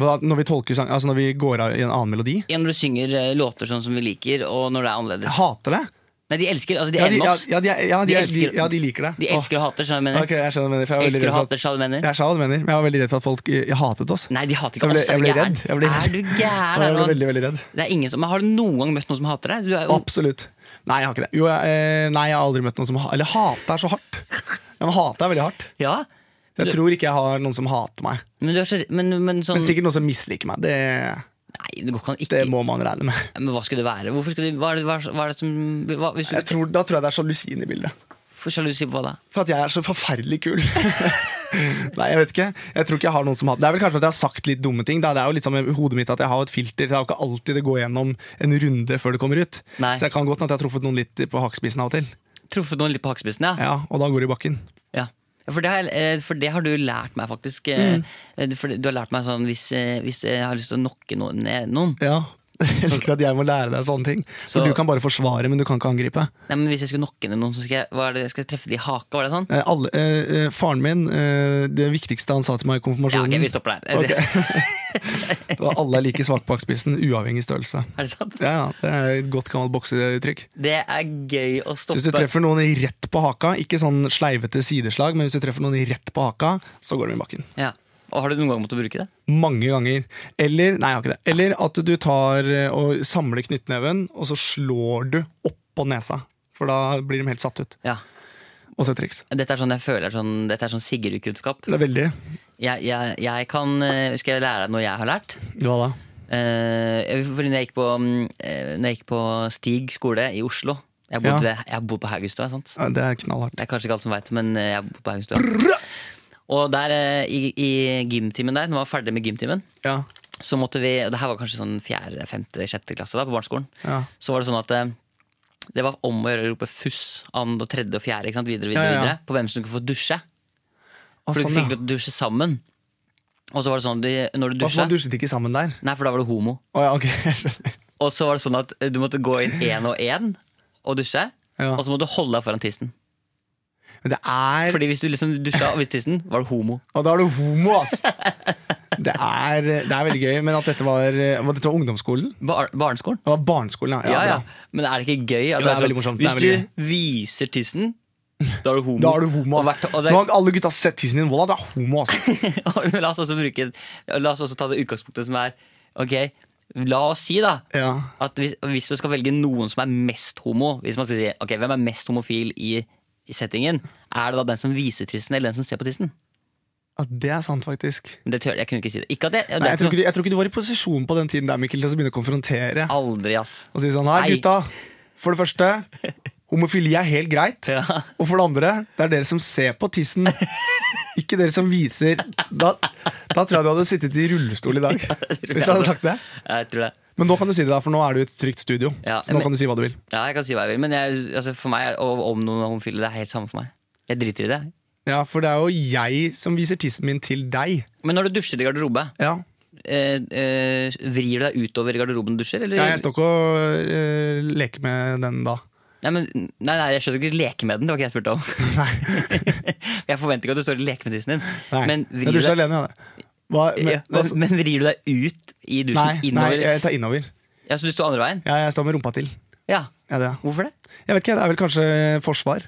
Speaker 3: Hva da, Når vi tolker sang, altså når vi går av i en annen melodi
Speaker 2: Ja, Når du synger eh, låter sånn som vi liker, og når det er
Speaker 3: Jeg
Speaker 2: annerledes.
Speaker 3: hater det.
Speaker 2: Nei, De elsker altså de
Speaker 3: Ja,
Speaker 2: er
Speaker 3: de,
Speaker 2: enige med
Speaker 3: ja,
Speaker 2: oss.
Speaker 3: ja, de, ja, de,
Speaker 2: De
Speaker 3: de,
Speaker 2: elsker-
Speaker 3: ja, de liker det.
Speaker 2: De
Speaker 3: Åh,
Speaker 2: elsker og hater, skjønner du hva jeg
Speaker 3: ok,
Speaker 2: mener.
Speaker 3: jeg skjønner hva du mener. For jeg var veldig
Speaker 2: Elsker
Speaker 3: redd for at-
Speaker 2: og hater, sa du mener.
Speaker 3: Jeg sa hva du mener, men jeg var veldig redd for at folk Jeg hatet oss.
Speaker 2: Nei, de hater
Speaker 3: Jeg
Speaker 2: ikke
Speaker 3: ble-
Speaker 2: oss. er
Speaker 3: jeg
Speaker 2: du
Speaker 3: ble
Speaker 2: gæren?
Speaker 3: redd. Jeg ble redd.
Speaker 2: Er du gæren?
Speaker 3: Jeg ble
Speaker 2: Herman?
Speaker 3: veldig, veldig redd.
Speaker 2: Det er ingen som, men Har du noen gang møtt noen som hater deg? Du er jo,
Speaker 3: Absolutt. Nei, jeg har ikke det. Jo, jeg, eh, nei, jeg har aldri møtt noen som ha- Eller hate er så hardt. Ja, men hate er veldig hardt.
Speaker 2: ja,
Speaker 3: Jeg tror ikke jeg har noen som hater meg.
Speaker 2: men, du er så, men, men sånn
Speaker 3: Men sikkert noen som misliker meg. Det,
Speaker 2: Nei, det går ikke an ikke
Speaker 3: det må man regne med.
Speaker 2: Men hva skulle det være? Hvorfor skulle det, hva, er det, hva, er- hva er det som hva, hvis du,
Speaker 3: Jeg tror, da tror jeg det er sjalusien i bildet.
Speaker 2: For sjalusi på hva da?
Speaker 3: For at jeg er så forferdelig kul. Nei, jeg vet ikke. Jeg tror ikke jeg har noen som hater Det er vel kanskje at jeg har sagt litt dumme ting. Da. Det er jo litt sånn med hodet mitt at jeg har et filter. Det er jo ikke alltid det går gjennom en runde før det kommer ut.
Speaker 2: Nei.
Speaker 3: Så jeg kan godt hende at jeg har truffet noen litt på hakespissen av og til.
Speaker 2: Truffet noen litt på hakespissen, ja.
Speaker 3: Ja, Og da går det i bakken.
Speaker 2: ja. Ja, For, det har, jeg- eh, for det har du lært meg, faktisk. eh, eh, For du har lært meg sånn hvis, eh, hvis jeg har lyst til å nokke noen, ned noen
Speaker 3: Ja. Jeg liker at jeg må lære deg sånne ting.
Speaker 2: Så-
Speaker 3: For du kan bare forsvare, men du kan ikke angripe.
Speaker 2: Nei, men Hvis jeg skulle nokke ned noen, så skal jeg, hva er det, skal jeg treffe de i haka? Var det sånn?
Speaker 3: Eh, alle, eh, eh, faren min, eh, det viktigste han sa til meg i
Speaker 2: Ja,
Speaker 3: konfirmasjonen,
Speaker 2: ok, Vi stopper der.
Speaker 3: Ok. det var alle er like svake på hakespissen, uavhengig størrelse.
Speaker 2: Er det sant?
Speaker 3: Ja, ja, Det er et godt gammelt bokseuttrykk.
Speaker 2: Det er gøy å
Speaker 3: Så
Speaker 2: stoppe.
Speaker 3: Hvis du treffer noen i rett på haka, ikke sånn sleivete sideslag, men hvis du treffer noen i rett på haka, så går de i bakken.
Speaker 2: Ja. Og Har du noen gang måttet bruke det?
Speaker 3: Mange ganger. Eller nei, jeg har ikke det. Eller at du tar eh, og samler knyttneven, og så slår du oppå nesa. For da blir de helt satt ut.
Speaker 2: Ja.
Speaker 3: Også et triks.
Speaker 2: Dette er sånn jeg føler sånn, Dette er sånn Sigurd-kunnskap.
Speaker 3: Det er veldig
Speaker 2: Jeg, jeg, jeg kan eh, Skal jeg lære deg noe jeg har lært?
Speaker 3: Hva da?
Speaker 2: Eh, fordi når jeg, gikk på, mm, eh, når jeg gikk på Stig skole i Oslo Jeg
Speaker 3: Ja.
Speaker 2: bodde, ved, jeg bodde på Haugenstua, sant?
Speaker 3: Ja, Det er knallhardt.
Speaker 2: Det er kanskje ikke alle som veit, men eh, jeg bodde på Haugenstua. Og der eh, i, i gymtimen der, når man var ferdig med gymtimen
Speaker 3: Ja.
Speaker 2: så måtte vi, og det her var kanskje sånn fjerde, femte, sjette klasse da, på barneskolen,
Speaker 3: Ja.
Speaker 2: så var det sånn at eh, det var om å gjøre å rope fuss and og tredje og fjerde ikke sant? videre videre,
Speaker 3: Ja, ja.
Speaker 2: videre, på hvem som kunne få dusje.
Speaker 3: Ah,
Speaker 2: For
Speaker 3: sånn,
Speaker 2: du
Speaker 3: ja.
Speaker 2: fikk lov til å dusje sammen. Og så var det sånn at de- når du
Speaker 3: Hvorfor
Speaker 2: dusja
Speaker 3: man dusjet ikke sammen der?
Speaker 2: Nei, for da var du homo.
Speaker 3: Å ja, ok, jeg skjønner.
Speaker 2: Og så var det sånn at eh, du måtte gå inn én og én og dusje.
Speaker 3: Ja.
Speaker 2: Og så måtte du holde deg foran tissen.
Speaker 3: Men det er
Speaker 2: Altså, Fordi hvis du liksom dusja og viste tissen, var du homo.
Speaker 3: Og da er du homo, ass! Det er, det er veldig gøy, men at dette var, var, dette var ungdomsskolen?
Speaker 2: Bar barneskolen.
Speaker 3: Det var barneskolen, ja.
Speaker 2: Ja,
Speaker 3: ja,
Speaker 2: ja.
Speaker 3: bra.
Speaker 2: Men er det ikke gøy?
Speaker 3: Jo,
Speaker 2: at
Speaker 3: det er
Speaker 2: sånn,
Speaker 3: veldig morsomt. Det
Speaker 2: Hvis
Speaker 3: er
Speaker 2: du
Speaker 3: veldig
Speaker 2: viser tissen, da er du homo.
Speaker 3: Da er du homo.
Speaker 2: Og
Speaker 3: ass.
Speaker 2: hvert- og det-
Speaker 3: Nå har alle gutta sett tissen din. Voilà, du er homo, altså. ass.
Speaker 2: Og la oss også bruke La oss også ta det utgangspunktet som er Ok, la oss si da
Speaker 3: Ja.
Speaker 2: At hvis, hvis man skal velge noen som er mest homo Hvis man skal si, ok, hvem er mest homofil i, i settingen Er det da den som viser tissen Eller den som ser på tissen
Speaker 3: ja, det er sant, faktisk.
Speaker 2: Men det tør jeg kunne ikke si det Ikke at det, det
Speaker 3: Nei,
Speaker 2: er
Speaker 3: jeg, tror ikke, du- jeg tror ikke du var i posisjon på den tiden der, Mikkel, til å begynne å konfrontere
Speaker 2: noe- Aldri ass
Speaker 3: og si sånn Hei,
Speaker 2: Nei.
Speaker 3: gutta. For det første, homofili er helt greit.
Speaker 2: Ja.
Speaker 3: Og for det andre, det er dere som ser på tissen. Ikke dere som viser Da, da tror jeg du hadde sittet i rullestol i dag. hvis jeg hadde sagt det.
Speaker 2: Jeg tror det.
Speaker 3: Men nå kan du si det, da, for nå er du i et trygt studio.
Speaker 2: Ja,
Speaker 3: så nå
Speaker 2: men-
Speaker 3: kan du si hva du vil.
Speaker 2: Ja, jeg kan si hva jeg vil, men jeg, altså, for meg, er- og om noen er homofile, det er helt samme for meg. Jeg driter i det.
Speaker 3: Ja, For det er jo jeg som viser tissen min til deg.
Speaker 2: Men når du dusjer i garderobe,
Speaker 3: Ja,
Speaker 2: eh, eh, vrir du deg utover i garderoben du dusjer? Eller?
Speaker 3: ja Jeg står ikke og eh, leker med den da.
Speaker 2: Nei, men, nei, nei, jeg skjønner ikke leke med den. Det var ikke jeg spurte om. jeg forventer ikke at du står og leker med tissen din.
Speaker 3: Nei,
Speaker 2: Men
Speaker 3: jeg
Speaker 2: vrir,
Speaker 3: dusjer
Speaker 2: deg,
Speaker 3: alene. Ja. Hva, men,
Speaker 2: ja, men,
Speaker 3: altså,
Speaker 2: men vrir du deg ut i
Speaker 3: nei,
Speaker 2: dusjen?
Speaker 3: nei,
Speaker 2: innover?
Speaker 3: jeg tar innover.
Speaker 2: Ja, Så du står andre veien?
Speaker 3: Ja, jeg står med rumpa til.
Speaker 2: Ja.
Speaker 3: Ja, det. er.
Speaker 2: Hvorfor det?
Speaker 3: Jeg vet ikke, Det er vel kanskje forsvar.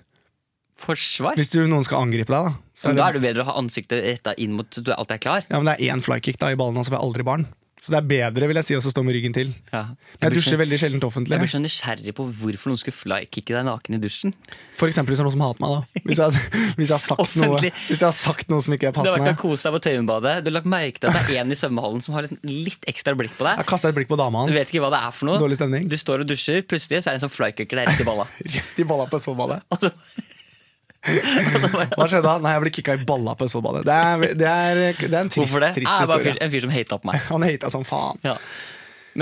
Speaker 2: Forsvar?
Speaker 3: Hvis du, noen skal angripe deg, da. Så er
Speaker 2: Men
Speaker 3: det,
Speaker 2: da er det bedre å ha ansiktet retta inn mot så du alltid er klar.
Speaker 3: ja, men det er én flykick da, i ballen, og så får jeg aldri barn. Så det er bedre vil jeg si, å stå med ryggen til.
Speaker 2: Ja.
Speaker 3: Men jeg
Speaker 2: blir
Speaker 3: dusjer
Speaker 2: så,
Speaker 3: veldig sjelden offentlig.
Speaker 2: jeg blir så nysgjerrig på hvorfor noen skulle flykicke deg naken i dusjen.
Speaker 3: For eksempel hvis det er noen som hater meg, da. Hvis jeg, hvis jeg, har, sagt noe,
Speaker 2: Offentlig.
Speaker 3: hvis jeg har sagt noe som ikke er
Speaker 2: Du har vært
Speaker 3: passende.
Speaker 2: og kost deg på Tøyenbadet. Du har lagt merke til at det er en i svømmehallen som har et litt ekstra blikk på
Speaker 3: Jeg
Speaker 2: deg.
Speaker 3: kasta et blikk på dama
Speaker 2: Du
Speaker 3: hans.
Speaker 2: vet ikke hva det er for noe.
Speaker 3: Dårlig stemning.
Speaker 2: Du står og dusjer, plutselig så er det en sånn flykicker der rett i balla.
Speaker 3: Rett i balla på Østfoldbadet.
Speaker 2: Og så-
Speaker 3: Hva skjedde da? Nei, jeg ble kicka i balla på Østfoldbadet. Det er, det er, det er en trist,
Speaker 2: Hvorfor det?
Speaker 3: trist
Speaker 2: jeg er bare en
Speaker 3: historie.
Speaker 2: fyr, en fyr som hata på meg.
Speaker 3: Han hata som faen.
Speaker 2: Ja.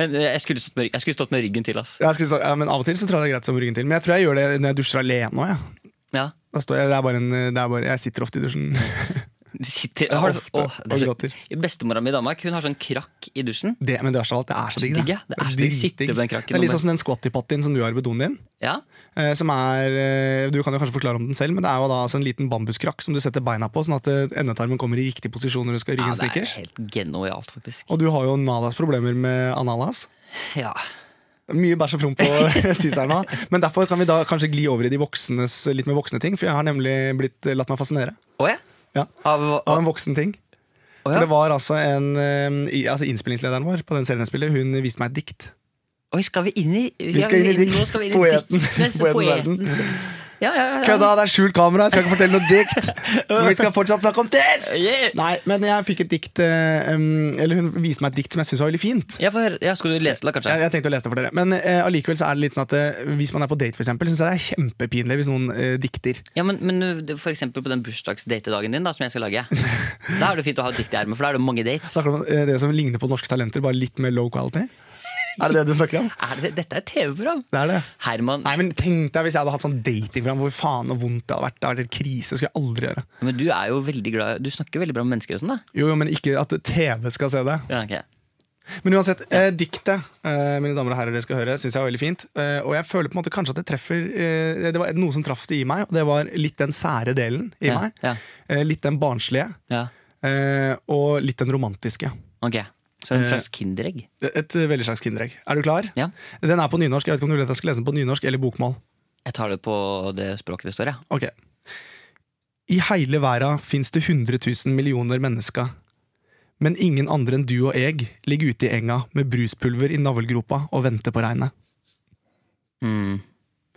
Speaker 2: Men eh, jeg skulle, stått med, rygg- jeg skulle stått med ryggen til, ass.
Speaker 3: Jeg skulle sagt, ja, men Av og til så tror jeg det er greit som ryggen til, men jeg tror jeg gjør det når jeg dusjer alene òg. Ja.
Speaker 2: Ja.
Speaker 3: Da står jeg- det er bare en- det er bare- Jeg sitter ofte i dusjen.
Speaker 2: Du sitter
Speaker 3: Ja,
Speaker 2: har du-
Speaker 3: ofte,
Speaker 2: åh, det er
Speaker 3: og
Speaker 2: så-
Speaker 3: gråter.
Speaker 2: Bestemora mi i Danmark hun har sånn krakk i dusjen.
Speaker 3: Det, men det verste av alt, det er så digg.
Speaker 2: digg, ja. Det er så digg. Sitte på den krakken
Speaker 3: det er litt
Speaker 2: og
Speaker 3: sånn som den squatty-pattyen som du har ved doen din.
Speaker 2: Ja.
Speaker 3: eh, Som er, eh, Du kan jo kanskje forklare om den selv, men det er jo da altså en liten bambuskrakk som du setter beina på, sånn at eh, endetarmen kommer i riktig posisjon når du skal rygge
Speaker 2: ja
Speaker 3: en
Speaker 2: det er
Speaker 3: snickers.
Speaker 2: helt genialt, faktisk.
Speaker 3: Og du har jo Nadas problemer med Analas.
Speaker 2: Ja.
Speaker 3: Mye bæsj og promp på tisseren nå. Men derfor kan vi da kanskje gli over i de voksnes litt mer voksne ting, for jeg har nemlig blitt eh, latt meg fascinere.
Speaker 2: Å ja?
Speaker 3: Ja. Av
Speaker 2: Av, å,
Speaker 3: en voksen ting.
Speaker 2: å,
Speaker 3: For det
Speaker 2: ja.
Speaker 3: var altså en eh, i- altså Innspillingslederen vår på den serien jeg spiller, hun viste meg et dikt.
Speaker 2: Oi, skal vi inn i
Speaker 3: Vi skal inn i dikt.
Speaker 2: Nå skal vi inn i
Speaker 3: Poeten.
Speaker 2: dikt. Neste
Speaker 3: Poeten verden.
Speaker 2: Ja, ja, ja.
Speaker 3: Kødda, det er skjult kamera, jeg skal ikke fortelle noe dikt! Men vi skal fortsatt snakke om tiss!
Speaker 2: Yeah.
Speaker 3: Nei, men jeg fikk et dikt eh, um, Eller hun viste meg et dikt som jeg syns var veldig fint.
Speaker 2: Jeg får høre. Ja, skal du lese det, da, kanskje?
Speaker 3: Jeg, jeg tenkte å lese det for dere Men eh, allikevel så er det litt sånn at eh, hvis man er på date, for eksempel, syns jeg det er kjempepinlig hvis noen eh, dikter.
Speaker 2: Ja, men, men uh, det- for eksempel på den bursdagsdatedagen din da, som jeg skal lage. Da er det fint å ha et dikt i ermet, for da er det mange dates.
Speaker 3: Snakker du om eh, det som ligner på Norske Talenter, bare litt mer low quality? Er det det du snakker om?
Speaker 2: Er det, dette er et TV-program!
Speaker 3: Det er det.
Speaker 2: Herman,
Speaker 3: Nei, men Tenk deg hvis jeg hadde hatt sånn datingprogram hvor faen og vondt det hadde vært. Det hadde vært en krise, det skulle jeg aldri gjøre.
Speaker 2: men du er jo veldig glad Du snakker veldig bra om mennesker og sånn, da.
Speaker 3: Jo, jo, men ikke at TV skal se det.
Speaker 2: Ja, ok.
Speaker 3: Men uansett, eh, diktet eh, mine damer og herrer, dere skal høre, syns jeg var veldig fint. Eh, og jeg føler på en måte kanskje at det treffer eh, Det var noe som traff det i meg, og det var litt den sære delen i
Speaker 2: Ja,
Speaker 3: meg.
Speaker 2: ja.
Speaker 3: Eh, litt den barnslige,
Speaker 2: Ja,
Speaker 3: eh, og litt den romantiske.
Speaker 2: ok Så en slags kinderegg?
Speaker 3: Et eh, veldig slags kinderegg. Er du klar?
Speaker 2: Ja.
Speaker 3: Den er på nynorsk. Jeg vet ikke om du vil at jeg skal lese den på nynorsk eller bokmål.
Speaker 2: Jeg tar det på det språket det står, ja.
Speaker 3: Ok. I hele verden finnes det 100 000 millioner mennesker. Men ingen andre enn du og jeg ligger ute i enga med bruspulver i navlegropa og venter på regnet.
Speaker 2: Mm.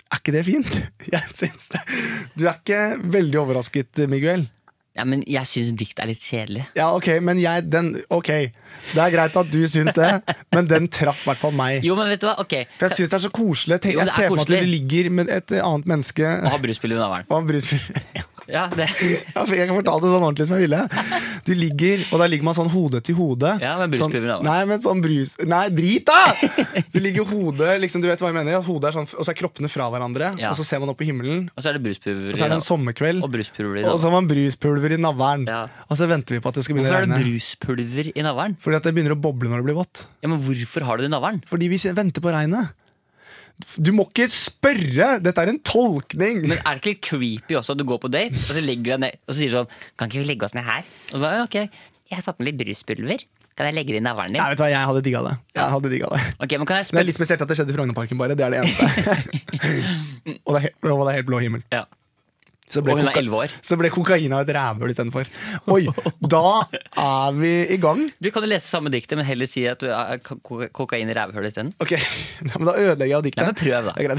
Speaker 3: Er ikke det fint? Jeg syns det. Du er ikke veldig overrasket, Miguel.
Speaker 2: ja men jeg syns dikt er litt kjedelig.
Speaker 3: Ja, ok, men jeg den, Ok, det er greit at du syns det, men den traff i hvert fall meg.
Speaker 2: Jo, men vet du hva? Ok,
Speaker 3: For jeg syns det er så koselig. Tenk,
Speaker 2: Jo, det
Speaker 3: jeg
Speaker 2: er
Speaker 3: ser for meg at du
Speaker 2: koselig.
Speaker 3: ligger med et annet menneske
Speaker 2: Å ha bruspiller i navlen.
Speaker 3: og han bruspulver.
Speaker 2: Ja, det.
Speaker 3: Ja, for jeg kan fortelle det sånn ordentlig som jeg ville. Du ligger, og der ligger man sånn hode til hode.
Speaker 2: Ja, men
Speaker 3: sånn,
Speaker 2: bruspulver, da.
Speaker 3: Nei, men sånn brus... Nei, drit, da! Du ligger hodet, liksom, du vet hva jeg mener, at hodet er sånn, og så er kroppene fra hverandre,
Speaker 2: Ja.
Speaker 3: og så ser man opp i himmelen,
Speaker 2: Og så er det bruspulver i
Speaker 3: og så er det en
Speaker 2: navlen.
Speaker 3: sommerkveld,
Speaker 2: Og bruspulver
Speaker 3: og
Speaker 2: i
Speaker 3: så
Speaker 2: navlen.
Speaker 3: har man bruspulver i navlen,
Speaker 2: Ja.
Speaker 3: og så venter vi på at det skal begynne å
Speaker 2: Hvorfor er det
Speaker 3: regne.
Speaker 2: bruspulver i navlen?
Speaker 3: Fordi at det begynner å boble når det blir vått.
Speaker 2: Ja, men hvorfor har du det i navlen?
Speaker 3: Fordi vi venter på regnet. Du må ikke spørre! Dette er en tolkning!
Speaker 2: Men er det ikke litt creepy også at du går på date, og så legger du deg ned Og så sier du sånn Kan ikke vi legge oss ned her? Og du bare, «Ja, ok, jeg har tatt med litt bruspulver. Kan jeg legge det i navlen din?
Speaker 3: Nei, vet du hva, jeg hadde digga det. Jeg hadde digga det.
Speaker 2: Ok, men kan
Speaker 3: Men Det
Speaker 2: jeg
Speaker 3: er
Speaker 2: spørre
Speaker 3: litt spesielt at det skjedde i Frognerparken, bare. Det er det eneste. og, det er helt, og det er helt blå himmel.
Speaker 2: ja.
Speaker 3: Så
Speaker 2: Og hun er
Speaker 3: koka-
Speaker 2: 11 år.
Speaker 3: Så ble kokaina et rævhull istedenfor. Oi, da er vi i gang.
Speaker 2: Du kan jo lese samme diktet, men heller si at du er ko- ko- kokain i rævhullet isteden.
Speaker 3: Ok, Nei, men Da ødelegger jeg jo diktet.
Speaker 2: Nei, men prøv da.
Speaker 3: Det er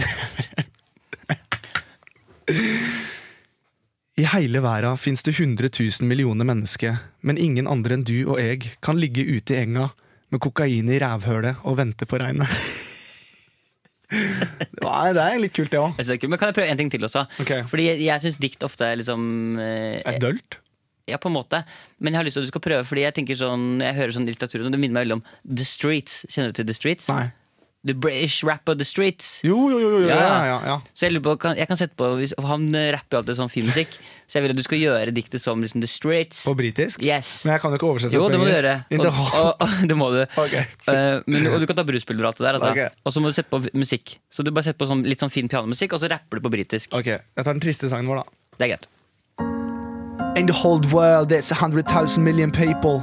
Speaker 3: greit. I hele verden fins det 100 000 millioner mennesker, men ingen andre enn du og jeg kan ligge ute i enga med kokain i rævhølet og vente på regnet. Nei, det er litt kult, det òg.
Speaker 2: Jeg synes det er kult, Men kan jeg prøve en ting til også?
Speaker 3: Ok.
Speaker 2: Fordi jeg, jeg syns dikt ofte er liksom eh,
Speaker 3: Er det dølt?
Speaker 2: Ja, på en måte. Men jeg har lyst til at du skal prøve, fordi jeg tenker sånn, jeg hører sånn litteratur og Det minner meg veldig om The Streets. Kjenner du til The Streets?
Speaker 3: Nei.
Speaker 2: The British rapper The Streets.
Speaker 3: Jo, jo, jo. jo ja, ja, ja, ja.
Speaker 2: Så jeg, lurer på, kan, jeg kan sette på hvis, for Han eh, rapper jo alltid sånn fin musikk. Så jeg vil at du skal gjøre diktet som liksom, The Streets.
Speaker 3: På britisk?
Speaker 2: Yes.
Speaker 3: Men jeg kan jo ikke oversette
Speaker 2: Jo,
Speaker 3: på
Speaker 2: det må du
Speaker 3: engelsk.
Speaker 2: gjøre.
Speaker 3: In
Speaker 2: Og,
Speaker 3: the
Speaker 2: og,
Speaker 3: hall.
Speaker 2: og, det må du.
Speaker 3: Ok.
Speaker 2: Eh, men, og du kan ta bruspiller og alt det der. Altså.
Speaker 3: Ok.
Speaker 2: Og så må du sette på v- musikk. Så du bare setter på sånn, litt sånn fin pianomusikk, og så rapper du på britisk.
Speaker 3: Ok, Jeg tar den triste sangen vår, da.
Speaker 2: Det er greit.
Speaker 3: In the whole world, there's a hundred thousand million people,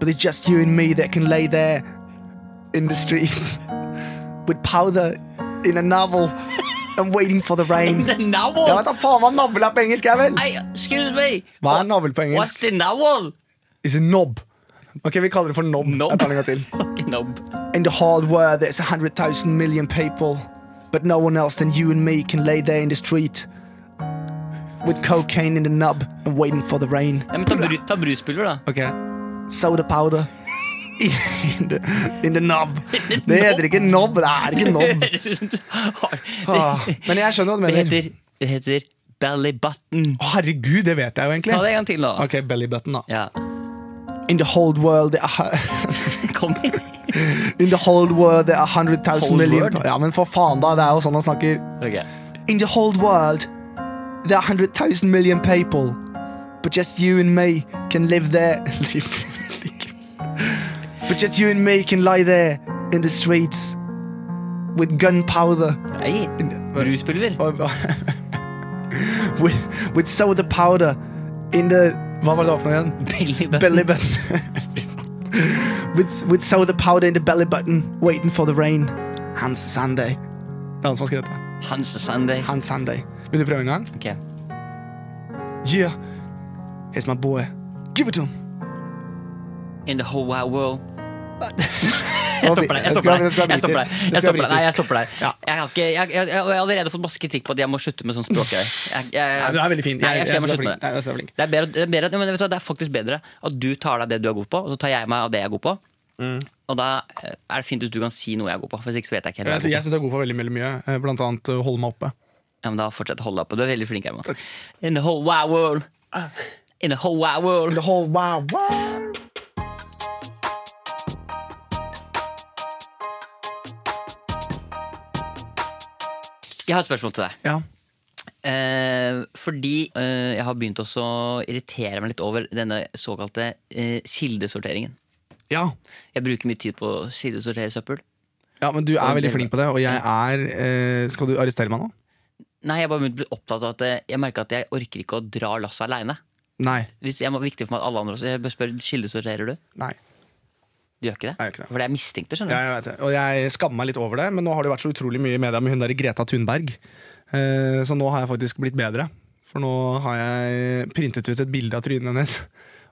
Speaker 3: but it's just you and me that can lay there in the streets with powder in a novel and waiting for the rain.
Speaker 2: The
Speaker 3: Jeg
Speaker 2: novel!
Speaker 3: vet da faen hva navl er på engelsk, jeg vel?
Speaker 2: Hey, excuse me!
Speaker 3: Hva er navl på
Speaker 2: What's
Speaker 3: engelsk?
Speaker 2: the novel?
Speaker 3: Is it knob? Ok, vi kaller det for knob.
Speaker 2: Knob.
Speaker 3: Jeg tar den en gang til.
Speaker 2: Fucking nob.
Speaker 3: In the whole world, there's a hundred thousand million people, but no one else than you and me can lay there in the street with cocaine in the nub and waiting for the rain.
Speaker 2: Nei, men ta, bru, ta bruspiller, da.
Speaker 3: Ok Soda powder In the, in the knob Det heter ikke knob, det er ikke knob
Speaker 2: Høres ut som du
Speaker 3: ah,
Speaker 2: har
Speaker 3: Men jeg skjønner hva du
Speaker 2: Det
Speaker 3: mener
Speaker 2: heter, det heter belly button.
Speaker 3: Å, Herregud, det vet jeg jo
Speaker 2: Ta
Speaker 3: egentlig
Speaker 2: det en gang til, da.
Speaker 3: Ok, belly button da
Speaker 2: Ja.
Speaker 3: In the whole world there are-
Speaker 2: Kom igjen.
Speaker 3: In the whole world er there are 100,000
Speaker 2: Whole
Speaker 3: million
Speaker 2: world?
Speaker 3: Ja, men for faen da, det er jo sånn han snakker
Speaker 2: Ok.
Speaker 3: In the whole world There are 100,000 million people But just you and me can live there Live- But just you and me can lie there In the streets With gunpowder
Speaker 2: Nei, bruspulver.
Speaker 3: with, with soda powder in the Hva var det for noe igjen?
Speaker 2: Belly button.
Speaker 3: Belly button. with, with soda powder in the belly button, waiting for the rain. Hans Sunday. Det er han som har skrevet det.
Speaker 2: Hans Sunday.
Speaker 3: Hans Sunday. Vil du prøve en gang?
Speaker 2: Ok.
Speaker 3: Yeah. Here's my boy. Give it to him.
Speaker 2: In the whole wide world.
Speaker 3: Jeg
Speaker 2: stopper deg. Jeg stopper deg. Jeg stopper deg. Jeg stopper deg. Nei, jeg stopper deg.
Speaker 3: Ja.
Speaker 2: Jeg, har ikke, jeg, jeg, jeg har allerede fått masse kritikk på at jeg må slutte med sånn språkgreier. Jeg- jeg-
Speaker 3: Nei, du er veldig fin.
Speaker 2: Nei, jeg, jeg,
Speaker 3: synes
Speaker 2: må
Speaker 3: du er
Speaker 2: slutte
Speaker 3: flink.
Speaker 2: med
Speaker 3: Nei,
Speaker 2: det.
Speaker 3: jeg synes du er flink.
Speaker 2: Det er, bedre, det, er bedre, at- jo, men vet du, hva, det er faktisk bedre at du tar deg det du er god på, og så tar jeg meg av det jeg er god på. Og da eh, er det fint hvis du kan si noe jeg er god på. For hvis ikke så vet jeg ikke helt hva
Speaker 3: Jeg
Speaker 2: jeg er god på.
Speaker 3: synes du er god for veldig veldig mye. eh, Blant annet eh, holde meg oppe.
Speaker 2: Ja, men da fortsett å holde deg oppe. Du er veldig flink, Herman. In the whole wide world. In the whole wide world.
Speaker 3: The whole wide world.
Speaker 2: Jeg har et spørsmål til deg.
Speaker 3: Ja.
Speaker 2: Eh, fordi eh, jeg har begynt også å irritere meg litt over denne såkalte eh, kildesorteringen.
Speaker 3: ja.
Speaker 2: Jeg bruker mye tid på å kildesortere søppel.
Speaker 3: Ja, men du er
Speaker 2: Og
Speaker 3: veldig
Speaker 2: det-
Speaker 3: flink på det, og jeg er eh, Skal du arrestere meg nå?
Speaker 2: Nei, jeg har bare begynt å bli opptatt av at eh, jeg merker at jeg orker ikke å dra lasset aleine.
Speaker 3: Nei.
Speaker 2: Hvis jeg må viktig for meg at alle andre også Jeg bør spørre, kildesorterer du?
Speaker 3: Nei.
Speaker 2: Du gjør ikke det?
Speaker 3: Nei, jeg gjør ikke det.
Speaker 2: For det er mistenkte,
Speaker 3: Ja,
Speaker 2: skjønner du.
Speaker 3: jeg vet det. Og jeg skammer meg litt over det, men nå har det vært så utrolig mye i media med hun der Greta Thunberg. Eh, så nå har jeg faktisk blitt bedre. For nå har jeg printet ut et bilde av trynet hennes.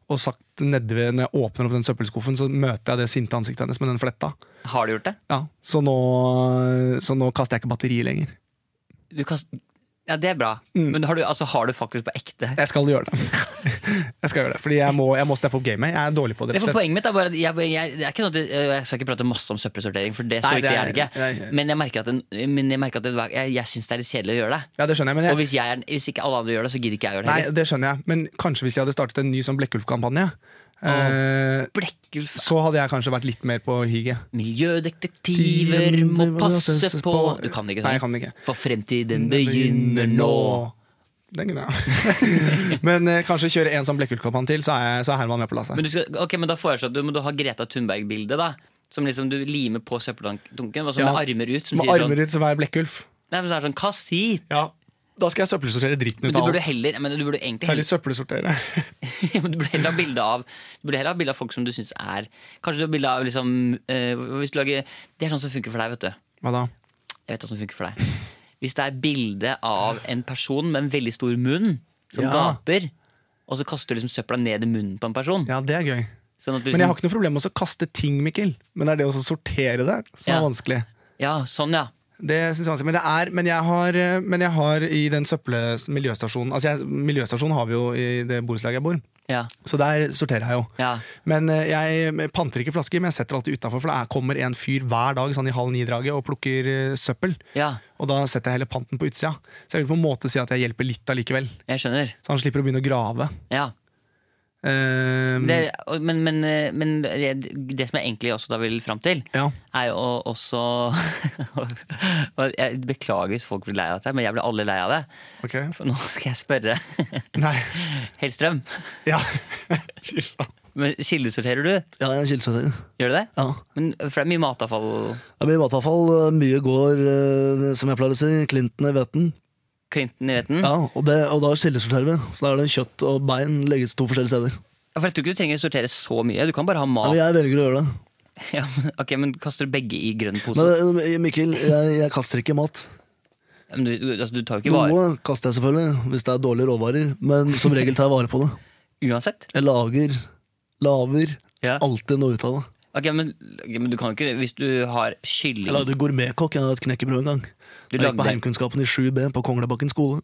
Speaker 3: Og sagt nede ved, når jeg åpner opp den søppelskuffen, så møter jeg det sinte ansiktet hennes med den fletta.
Speaker 2: Har du gjort det?
Speaker 3: Ja, så nå, så nå kaster jeg ikke batteri lenger.
Speaker 2: Du kan... Ja, det er bra.
Speaker 3: Mm.
Speaker 2: Men har du, altså, har du faktisk på ekte
Speaker 3: Jeg skal gjøre det. jeg skal gjøre det, Fordi jeg må, jeg må steppe opp gamet. Jeg er dårlig på det. rett
Speaker 2: Det
Speaker 3: og
Speaker 2: for
Speaker 3: slett.
Speaker 2: poenget mitt er bare at jeg, jeg, det er ikke sånn at jeg, jeg skal ikke prate masse om søppelsortering, for det så
Speaker 3: Nei, det
Speaker 2: viktig
Speaker 3: er-
Speaker 2: er det
Speaker 3: det er
Speaker 2: ikke.
Speaker 3: ikke-
Speaker 2: Men jeg merker at, den- men jeg, merker at det, jeg, jeg syns det er litt kjedelig å gjøre det.
Speaker 3: Ja, det skjønner jeg, men jeg,
Speaker 2: Og hvis, jeg er, hvis ikke alle andre gjør det, så gidder ikke jeg gjøre det
Speaker 3: Nei,
Speaker 2: heller.
Speaker 3: det skjønner jeg, men kanskje hvis de hadde startet en ny sånn Blekkulf-kampanje, eh,
Speaker 2: Blekkulf
Speaker 3: så hadde jeg kanskje vært litt mer på higet.
Speaker 2: Miljødetektiver må passe på Du kan ikke
Speaker 3: Nei, jeg
Speaker 2: sånn.
Speaker 3: kan ikke.
Speaker 2: For fremtiden begynner nå.
Speaker 3: Den kunne jeg. men eh, kanskje kjøre en sånn Blekkulf-kampanje til, så er, jeg, så er Herman med på lasset.
Speaker 2: Men du skal, ok, men da foreslår jeg sånn at du må du ha Greta Thunberg-bildet, da. Som liksom du limer på søppeldunken, og så
Speaker 3: Ja.
Speaker 2: med armer ut. Som
Speaker 3: Med
Speaker 2: sier sånn,
Speaker 3: armer ut, så er jeg Blekkulf.
Speaker 2: Nei, men så er det sånn, Kast hit!
Speaker 3: Ja, da skal jeg søppelsortere dritten
Speaker 2: Men
Speaker 3: ut
Speaker 2: du
Speaker 3: av
Speaker 2: burde
Speaker 3: alt.
Speaker 2: heller men du burde egentlig
Speaker 3: Særlig
Speaker 2: heller,
Speaker 3: søppelsortere.
Speaker 2: men du burde heller ha bilde av Du burde heller ha bilde av folk som du syns er Kanskje du har bilde av liksom eh, hvis du lager, Det er sånn som funker for deg, vet du.
Speaker 3: Hva da?
Speaker 2: Jeg vet hva som funker for deg. Hvis det er bilde av en person med en veldig stor munn, som
Speaker 3: Ja.
Speaker 2: gaper, og så kaster du liksom søpla ned i munnen på en person
Speaker 3: Ja, det er gøy.
Speaker 2: sånn at du
Speaker 3: Men jeg har
Speaker 2: liksom,
Speaker 3: ikke noe problem med å kaste ting, Mikkel. Men det er det å sortere det som er
Speaker 2: Ja.
Speaker 3: vanskelig.
Speaker 2: Ja, sånn, ja.
Speaker 3: Det synes jeg er vanskelig, men, det er, men, jeg har, men jeg har i den søppelmiljøstasjonen altså jeg, Miljøstasjonen har vi jo i det borettslaget jeg bor.
Speaker 2: Ja.
Speaker 3: Så der sorterer jeg jo.
Speaker 2: Ja.
Speaker 3: Men eh, jeg panter ikke flasker, men jeg setter alltid utafor, for det er- kommer en fyr hver dag sånn i halv ni-draget og plukker eh, søppel.
Speaker 2: ja.
Speaker 3: Og da setter jeg heller panten på utsida. Så jeg vil på en måte si at jeg hjelper litt allikevel.
Speaker 2: Jeg skjønner.
Speaker 3: Så han slipper å begynne å grave.
Speaker 2: Ja.
Speaker 3: Eh,
Speaker 2: Det, og- men, men, eh, men det det som jeg egentlig også da vil fram til,
Speaker 3: ja.
Speaker 2: er jo å- også og Jeg beklager hvis folk blir lei av dette, men jeg blir aldri lei av det.
Speaker 3: Ok.
Speaker 2: For nå skal jeg spørre
Speaker 3: Nei.
Speaker 2: Hellstrøm.
Speaker 3: Ja. Fy faen.
Speaker 2: Men kildesorterer du?
Speaker 4: Ja, jeg er en kildesorterer.
Speaker 2: Gjør du det?
Speaker 4: Ja.
Speaker 2: Men, for det er mye matavfall.
Speaker 4: Det blir matavfall. Mye går, eh, som jeg pleier å si, klinten i vetten.
Speaker 2: Clinton i retten.
Speaker 4: Ja, og, det, og da kildesorterer vi. Så da er det kjøtt og bein legges to forskjellige steder.
Speaker 2: For jeg tror ikke du trenger å sortere så mye. Du kan bare ha
Speaker 4: Ja,
Speaker 2: mat.
Speaker 4: men jeg velger å gjøre det.
Speaker 2: Ja, men, ok, men kaster du begge i grønn pose? Men,
Speaker 4: Men eh, Mikkel, jeg, jeg kaster ikke mat.
Speaker 2: du, du- altså, du tar jo ikke vare.
Speaker 4: Noe kaster jeg selvfølgelig, hvis det er dårlige råvarer. Men som regel tar jeg vare på det.
Speaker 2: Uansett.
Speaker 4: Jeg lager, laver
Speaker 2: Ja.
Speaker 4: alltid noe ut av det.
Speaker 2: Ok, men, ok, men du kan ikke Hvis du har kylling
Speaker 4: Jeg lagde gourmetkokk. Jeg hadde et knekkebrød en gang.
Speaker 2: Du
Speaker 4: Jeg gikk på
Speaker 2: lagde-
Speaker 4: Heimkunnskapen i 7B på Konglebakken skole.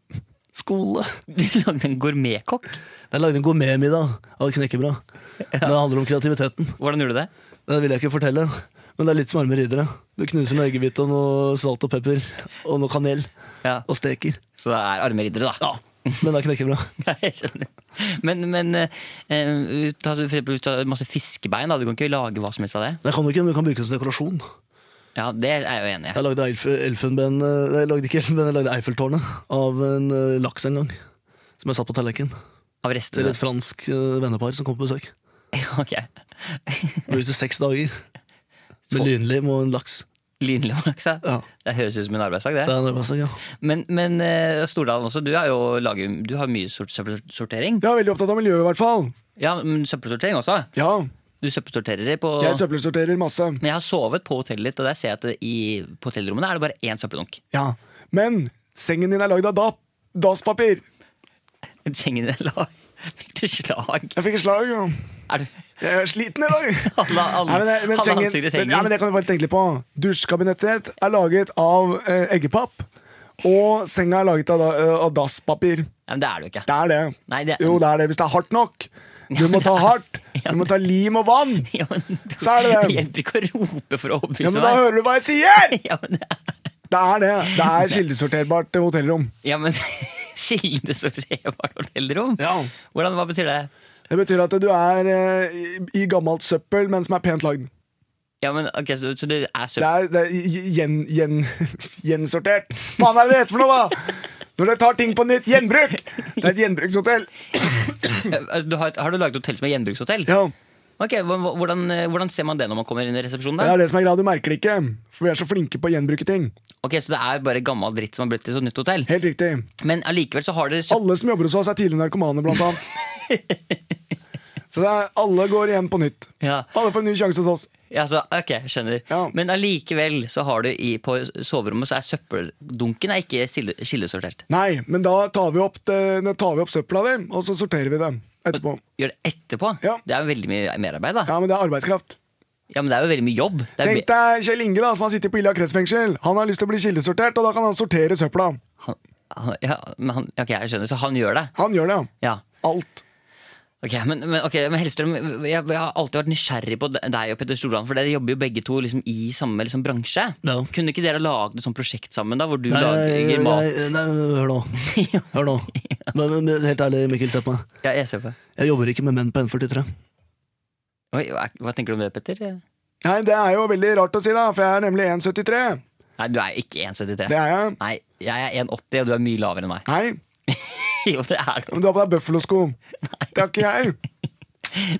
Speaker 4: Skole!
Speaker 2: Du lagde en gourmetkokk?
Speaker 4: Jeg lagde en gourmetmiddag av knekkebrød. Det handler om kreativiteten.
Speaker 2: Hvordan gjorde du det?
Speaker 4: Det vil jeg ikke fortelle, men det er litt som arme riddere. Du knuser noe eggehvite og noe salt og pepper og noe kanel
Speaker 2: Ja.
Speaker 4: og steker.
Speaker 2: Så det er arme riddere, da.
Speaker 4: Men det er knekkebrød.
Speaker 2: Ja, jeg skjønner. Men, men eh, eh, ta, for eksempel, ta masse fiskebein, da. Du kan ikke lage hva som helst av det.
Speaker 4: Det kan du ikke, men du kan bruke det som dekorasjon.
Speaker 2: Ja, Det er jeg jo enig i.
Speaker 4: Jeg lagde Eilf elfenben eh, Jeg lagde ikke elfenben, jeg lagde Eiffeltårnet av en eh, laks en gang. Som jeg satt på tallerkenen
Speaker 2: Av
Speaker 4: til
Speaker 2: restene.
Speaker 4: et fransk eh, vennepar som kom på besøk.
Speaker 2: Ok.
Speaker 4: Brukte seks dager
Speaker 2: Så-
Speaker 4: med lynlim og en laks.
Speaker 2: Lynløvlaks, ja.
Speaker 4: Ja,
Speaker 2: Det høres ut som en arbeidsdag,
Speaker 4: det
Speaker 2: det.
Speaker 4: er en arbeidsdag, ja.
Speaker 2: Men, men eh, Stordalen også, du, er jo lager, du har mye sort- søppelsortering.
Speaker 3: Jeg er veldig opptatt av miljøet, i hvert fall.
Speaker 2: Ja, men søppelsortering også.
Speaker 3: Ja,
Speaker 2: Du søppelsorterer på
Speaker 3: jeg søppelsorterer masse.
Speaker 2: Men jeg har sovet på hotellet ditt, og der ser jeg at det i, på hotellrommene er det bare én søppeldunk.
Speaker 3: Ja. Men sengen din er lagd av dap. Dasspapir.
Speaker 2: Sengen er lag. Fikk du slag?
Speaker 3: Jeg fikk et slag. jo.
Speaker 2: Er du
Speaker 3: Jeg er sliten i dag.
Speaker 2: Alle, alle,
Speaker 3: Nei, men, det- men,
Speaker 2: alle
Speaker 3: sengen,
Speaker 2: ansiktet
Speaker 3: men, ja, men
Speaker 2: henger.
Speaker 3: det kan du bare tenke litt på. Dusjkabinettet ditt er laget av eh, eggepapp. Og senga er laget av, da- eh, av dasspapir.
Speaker 2: Nei, men det er du ikke.
Speaker 3: Det er det.
Speaker 2: Nei, det
Speaker 3: Jo, det er det hvis det er hardt nok. Du må ta hardt. Du må ta lim og vann.
Speaker 2: Ja, men, det,
Speaker 3: Så er det det.
Speaker 2: hjelper ikke å rope for å
Speaker 3: Ja,
Speaker 2: overbevise
Speaker 3: men da
Speaker 2: meg.
Speaker 3: hører du hva jeg sier!
Speaker 2: Ja, men, det er-
Speaker 3: Det er det. Det er kildesorterbart hotellrom.
Speaker 2: ja, men Kildesorterbart hotellrom?
Speaker 3: Ja.
Speaker 2: Hvordan, hva betyr det?
Speaker 3: Det betyr at du er eh, i- i gammelt søppel, men som er pent lagd.
Speaker 2: Ja, men, ok, så, så det er
Speaker 3: Det
Speaker 2: søppel
Speaker 3: er, det er gj- gjen, gjen, gjensortert. Faen er det det heter for noe, da? Når dere tar ting på nytt. Gjenbruk! Det er et gjenbrukshotell.
Speaker 2: altså, du har, et- har du laget hotell som er gjenbrukshotell?
Speaker 3: Ja,
Speaker 2: Ok, hva- hva- hvordan, hvordan ser man det når man kommer inn i resepsjonen?
Speaker 3: Det
Speaker 2: der?
Speaker 3: er det som er greia. Du merker det ikke, for vi er så flinke på å gjenbruke ting.
Speaker 2: Ok, Så det er bare gammel dritt som har blitt til et nytt hotell?
Speaker 3: Helt riktig.
Speaker 2: Men allikevel så har dere søppel
Speaker 3: Alle som jobber hos oss, er tidligere narkomane, blant annet. Så det er, alle går igjen på nytt.
Speaker 2: Ja.
Speaker 3: Alle får en ny sjanse hos oss.
Speaker 2: Ja, så, ok, skjønner.
Speaker 3: Ja.
Speaker 2: Men allikevel så har du i, på soverommet så er søppeldunken er ikke stille- skillesortert.
Speaker 3: Nei, men da tar vi opp, det- da tar vi opp søpla di, og så sorterer vi det etterpå.
Speaker 2: Gjør det etterpå?
Speaker 3: Ja.
Speaker 2: Det er jo veldig mye merarbeid, da. Ja.
Speaker 3: Ja, men det er arbeidskraft.
Speaker 2: men det er jo veldig mye jobb. Det er
Speaker 3: Tenk deg Kjell Inge, da, som har sittet på Ila kretsfengsel. Han har lyst til å bli kildesortert, og da kan han sortere søpla.
Speaker 2: han, han, ja, men han, ok, jeg skjønner. Så han gjør det?
Speaker 3: Han gjør det, ja.
Speaker 2: Ja.
Speaker 3: Alt.
Speaker 2: Ok, Men, men, ok, men Hellstrøm, jeg, jeg har alltid vært nysgjerrig på deg og Petter Stordalen, for dere jobber jo begge to liksom, i samme liksom, bransje.
Speaker 4: Ja.
Speaker 2: Kunne ikke dere lagd et sånt prosjekt sammen, da, hvor du
Speaker 4: Nei,
Speaker 2: lager
Speaker 4: nei,
Speaker 2: mat?
Speaker 4: nei, hør nå. Hør nå. Men, men, men, helt ærlig, Mikkel, se på meg.
Speaker 2: Ja, jeg ser på.
Speaker 4: Jeg jobber ikke med menn på N43.
Speaker 2: Oi, hva, hva tenker du om det, Petter?
Speaker 3: Nei, det er jo veldig rart å si, da, for jeg er nemlig 1,73.
Speaker 2: Nei, du er jo ikke 1,73.
Speaker 3: Det er jeg.
Speaker 2: Nei, jeg er 1,80, og du er mye lavere enn meg.
Speaker 3: Nei,
Speaker 2: Jo, det er du.
Speaker 3: men du har på deg bøffelosko. Det har ikke jeg.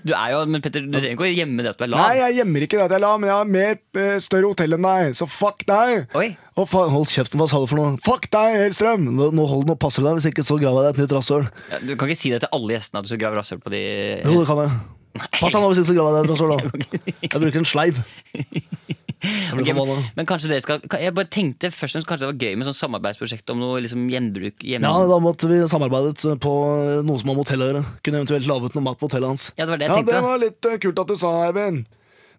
Speaker 2: Du er jo, men Petter, du trenger ikke å gjemme det at du er lav.
Speaker 3: Nei, jeg gjemmer ikke det at jeg la, men jeg har mer eh, større hotell enn deg, så fuck deg.
Speaker 2: Oi,
Speaker 4: Å, faen, hold kjeften, hva sa du for noe?
Speaker 3: Fuck deg, Hellstrøm!
Speaker 4: Nå, nå hold nå passer du deg, hvis ikke så graver jeg deg et nytt rasshøl.
Speaker 2: ja, Du kan ikke si det til alle gjestene at du skal grave rasshøl på de
Speaker 4: Jo, det kan jeg. Pass deg nå, hvis ikke så graver jeg deg et rasshøl, da. Jeg bruker en sleiv. Jeg
Speaker 2: Ok,
Speaker 4: blir
Speaker 2: men,
Speaker 4: forbanna.
Speaker 2: men kanskje dere skal kan- Jeg bare tenkte først og fremst kanskje det var gøy med sånn samarbeidsprosjekt om noe liksom gjenbruk. Gjen...
Speaker 4: Ja,
Speaker 2: Ja,
Speaker 4: da måtte vi samarbeidet på noe som har med hotellet å gjøre. Kunne eventuelt laget noe mat på hotellet hans.
Speaker 2: det var det jeg
Speaker 3: Ja,
Speaker 2: tenkte.
Speaker 3: det var litt eh, kult at du sa, Eivind.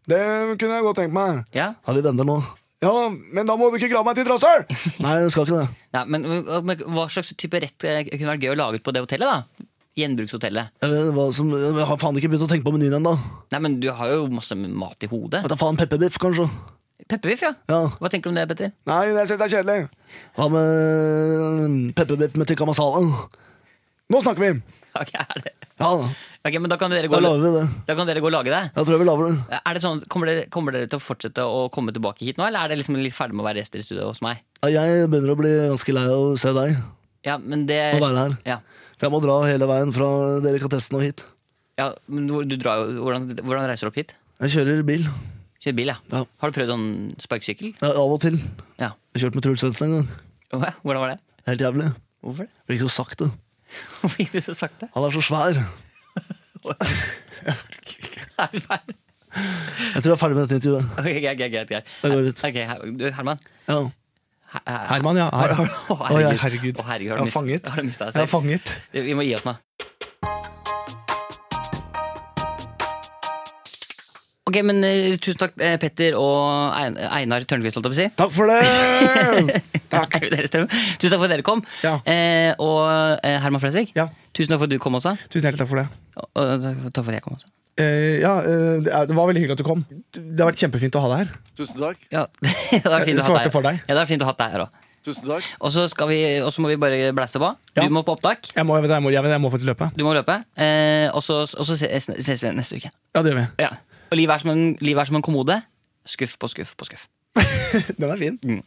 Speaker 3: Det kunne jeg godt tenkt meg.
Speaker 2: Ja?
Speaker 4: Har vi venner nå?
Speaker 3: Ja, men da må du ikke grave meg til et rasshøl!
Speaker 4: Nei, jeg skal ikke det.
Speaker 2: Ja, men, men hva slags type rett eh, kunne vært gøy å lage ut på det hotellet, da? Gjenbrukshotellet.
Speaker 4: Eh, Hva som, jeg har faen ikke begynt å tenke på menyen ennå.
Speaker 2: Nei, men du har jo masse mat i hodet.
Speaker 4: Vet da faen, pepperbiff, kanskje?
Speaker 2: Pepperbiff, ja.
Speaker 4: Ja.
Speaker 2: Hva tenker du om det, Petter?
Speaker 3: Nei, jeg syns det er kjedelig.
Speaker 4: Hva med mm, pepperbiff med tikka masala?
Speaker 3: Nå snakker vi!
Speaker 2: Ok, er det-
Speaker 4: Ja da,
Speaker 2: ok, men da kan dere gå
Speaker 4: da lager vi det.
Speaker 2: Da kan dere gå og lage det.
Speaker 4: Jeg tror vi lager det.
Speaker 2: Er det sånn, kommer, dere, kommer dere til å fortsette å komme tilbake hit nå, eller er det liksom litt ferdig med å være rester i studio hos meg?
Speaker 4: Ja, Jeg begynner å bli ganske lei av å se deg
Speaker 2: Ja, men det
Speaker 4: og være her.
Speaker 2: ja.
Speaker 4: For jeg må dra hele veien fra delikatessen og hit.
Speaker 2: Ja, men hvor- du drar, jo- hvordan, hvordan reiser du opp hit?
Speaker 4: Jeg kjører bil.
Speaker 2: Kjører bil, ja.
Speaker 4: Ja.
Speaker 2: Har du prøvd sånn sparkesykkel?
Speaker 4: Ja, av og til.
Speaker 2: Ja.
Speaker 4: Jeg kjørte med Truls Svendsen en gang.
Speaker 2: Å, ja. Hvordan var det?
Speaker 4: Helt jævlig.
Speaker 2: Hvorfor det?
Speaker 4: Blir ikke så sakte.
Speaker 2: Hvorfor gikk det så sakte?
Speaker 4: Han er så svær.
Speaker 2: Er vi ferdig?
Speaker 4: Jeg tror jeg er ferdig med dette intervjuet.
Speaker 2: Ok, greit, greit, greit, greit.
Speaker 4: Jeg går ut.
Speaker 2: Ok, her, du, Herman.
Speaker 4: Ja.
Speaker 2: Her- her-
Speaker 3: Herman, ja. Her.
Speaker 2: Å,
Speaker 3: Å, ja, herregud.
Speaker 2: Å,
Speaker 3: Jeg
Speaker 2: herregud, har
Speaker 3: har
Speaker 2: du mist-
Speaker 3: fanget.
Speaker 2: Har du mistet
Speaker 3: Jeg
Speaker 2: deg
Speaker 3: er
Speaker 2: selv?
Speaker 3: fanget.
Speaker 2: Vi må gi oss nå. Ok, men eh, Tusen takk, eh, Petter og Ein- Einar Tørnquist, holdt jeg på å si.
Speaker 3: Takk for det! Takk.
Speaker 2: Er det dere stemmer? Tusen takk for at dere kom.
Speaker 3: Ja.
Speaker 2: Eh, og eh, Herman Flesvig,
Speaker 3: Ja.
Speaker 2: tusen takk for at du kom også.
Speaker 3: Tusen hjertelig takk for det.
Speaker 2: Og, og takk for at jeg kom også.
Speaker 3: Eh, ja, eh, det er- det var veldig hyggelig at du kom. Det har vært kjempefint å ha deg her.
Speaker 1: Tusen takk.
Speaker 2: Ja, det var fint å ha
Speaker 3: Svarte
Speaker 2: deg.
Speaker 3: for deg.
Speaker 2: Ja, det var fint å ha deg her òg.
Speaker 1: Tusen takk.
Speaker 2: Og så skal vi- og så må vi bare blæste på.
Speaker 3: Ja.
Speaker 2: Du må på opptak.
Speaker 3: Jeg må, jeg, vet- jeg, må, jeg, vet- jeg må faktisk løpe.
Speaker 2: Du må løpe. Eh, og så og så ses, ses vi neste uke.
Speaker 3: Ja, det gjør vi.
Speaker 2: Ja. Og livet er, som en, livet er som en kommode. Skuff på skuff på skuff.
Speaker 3: Den er fin.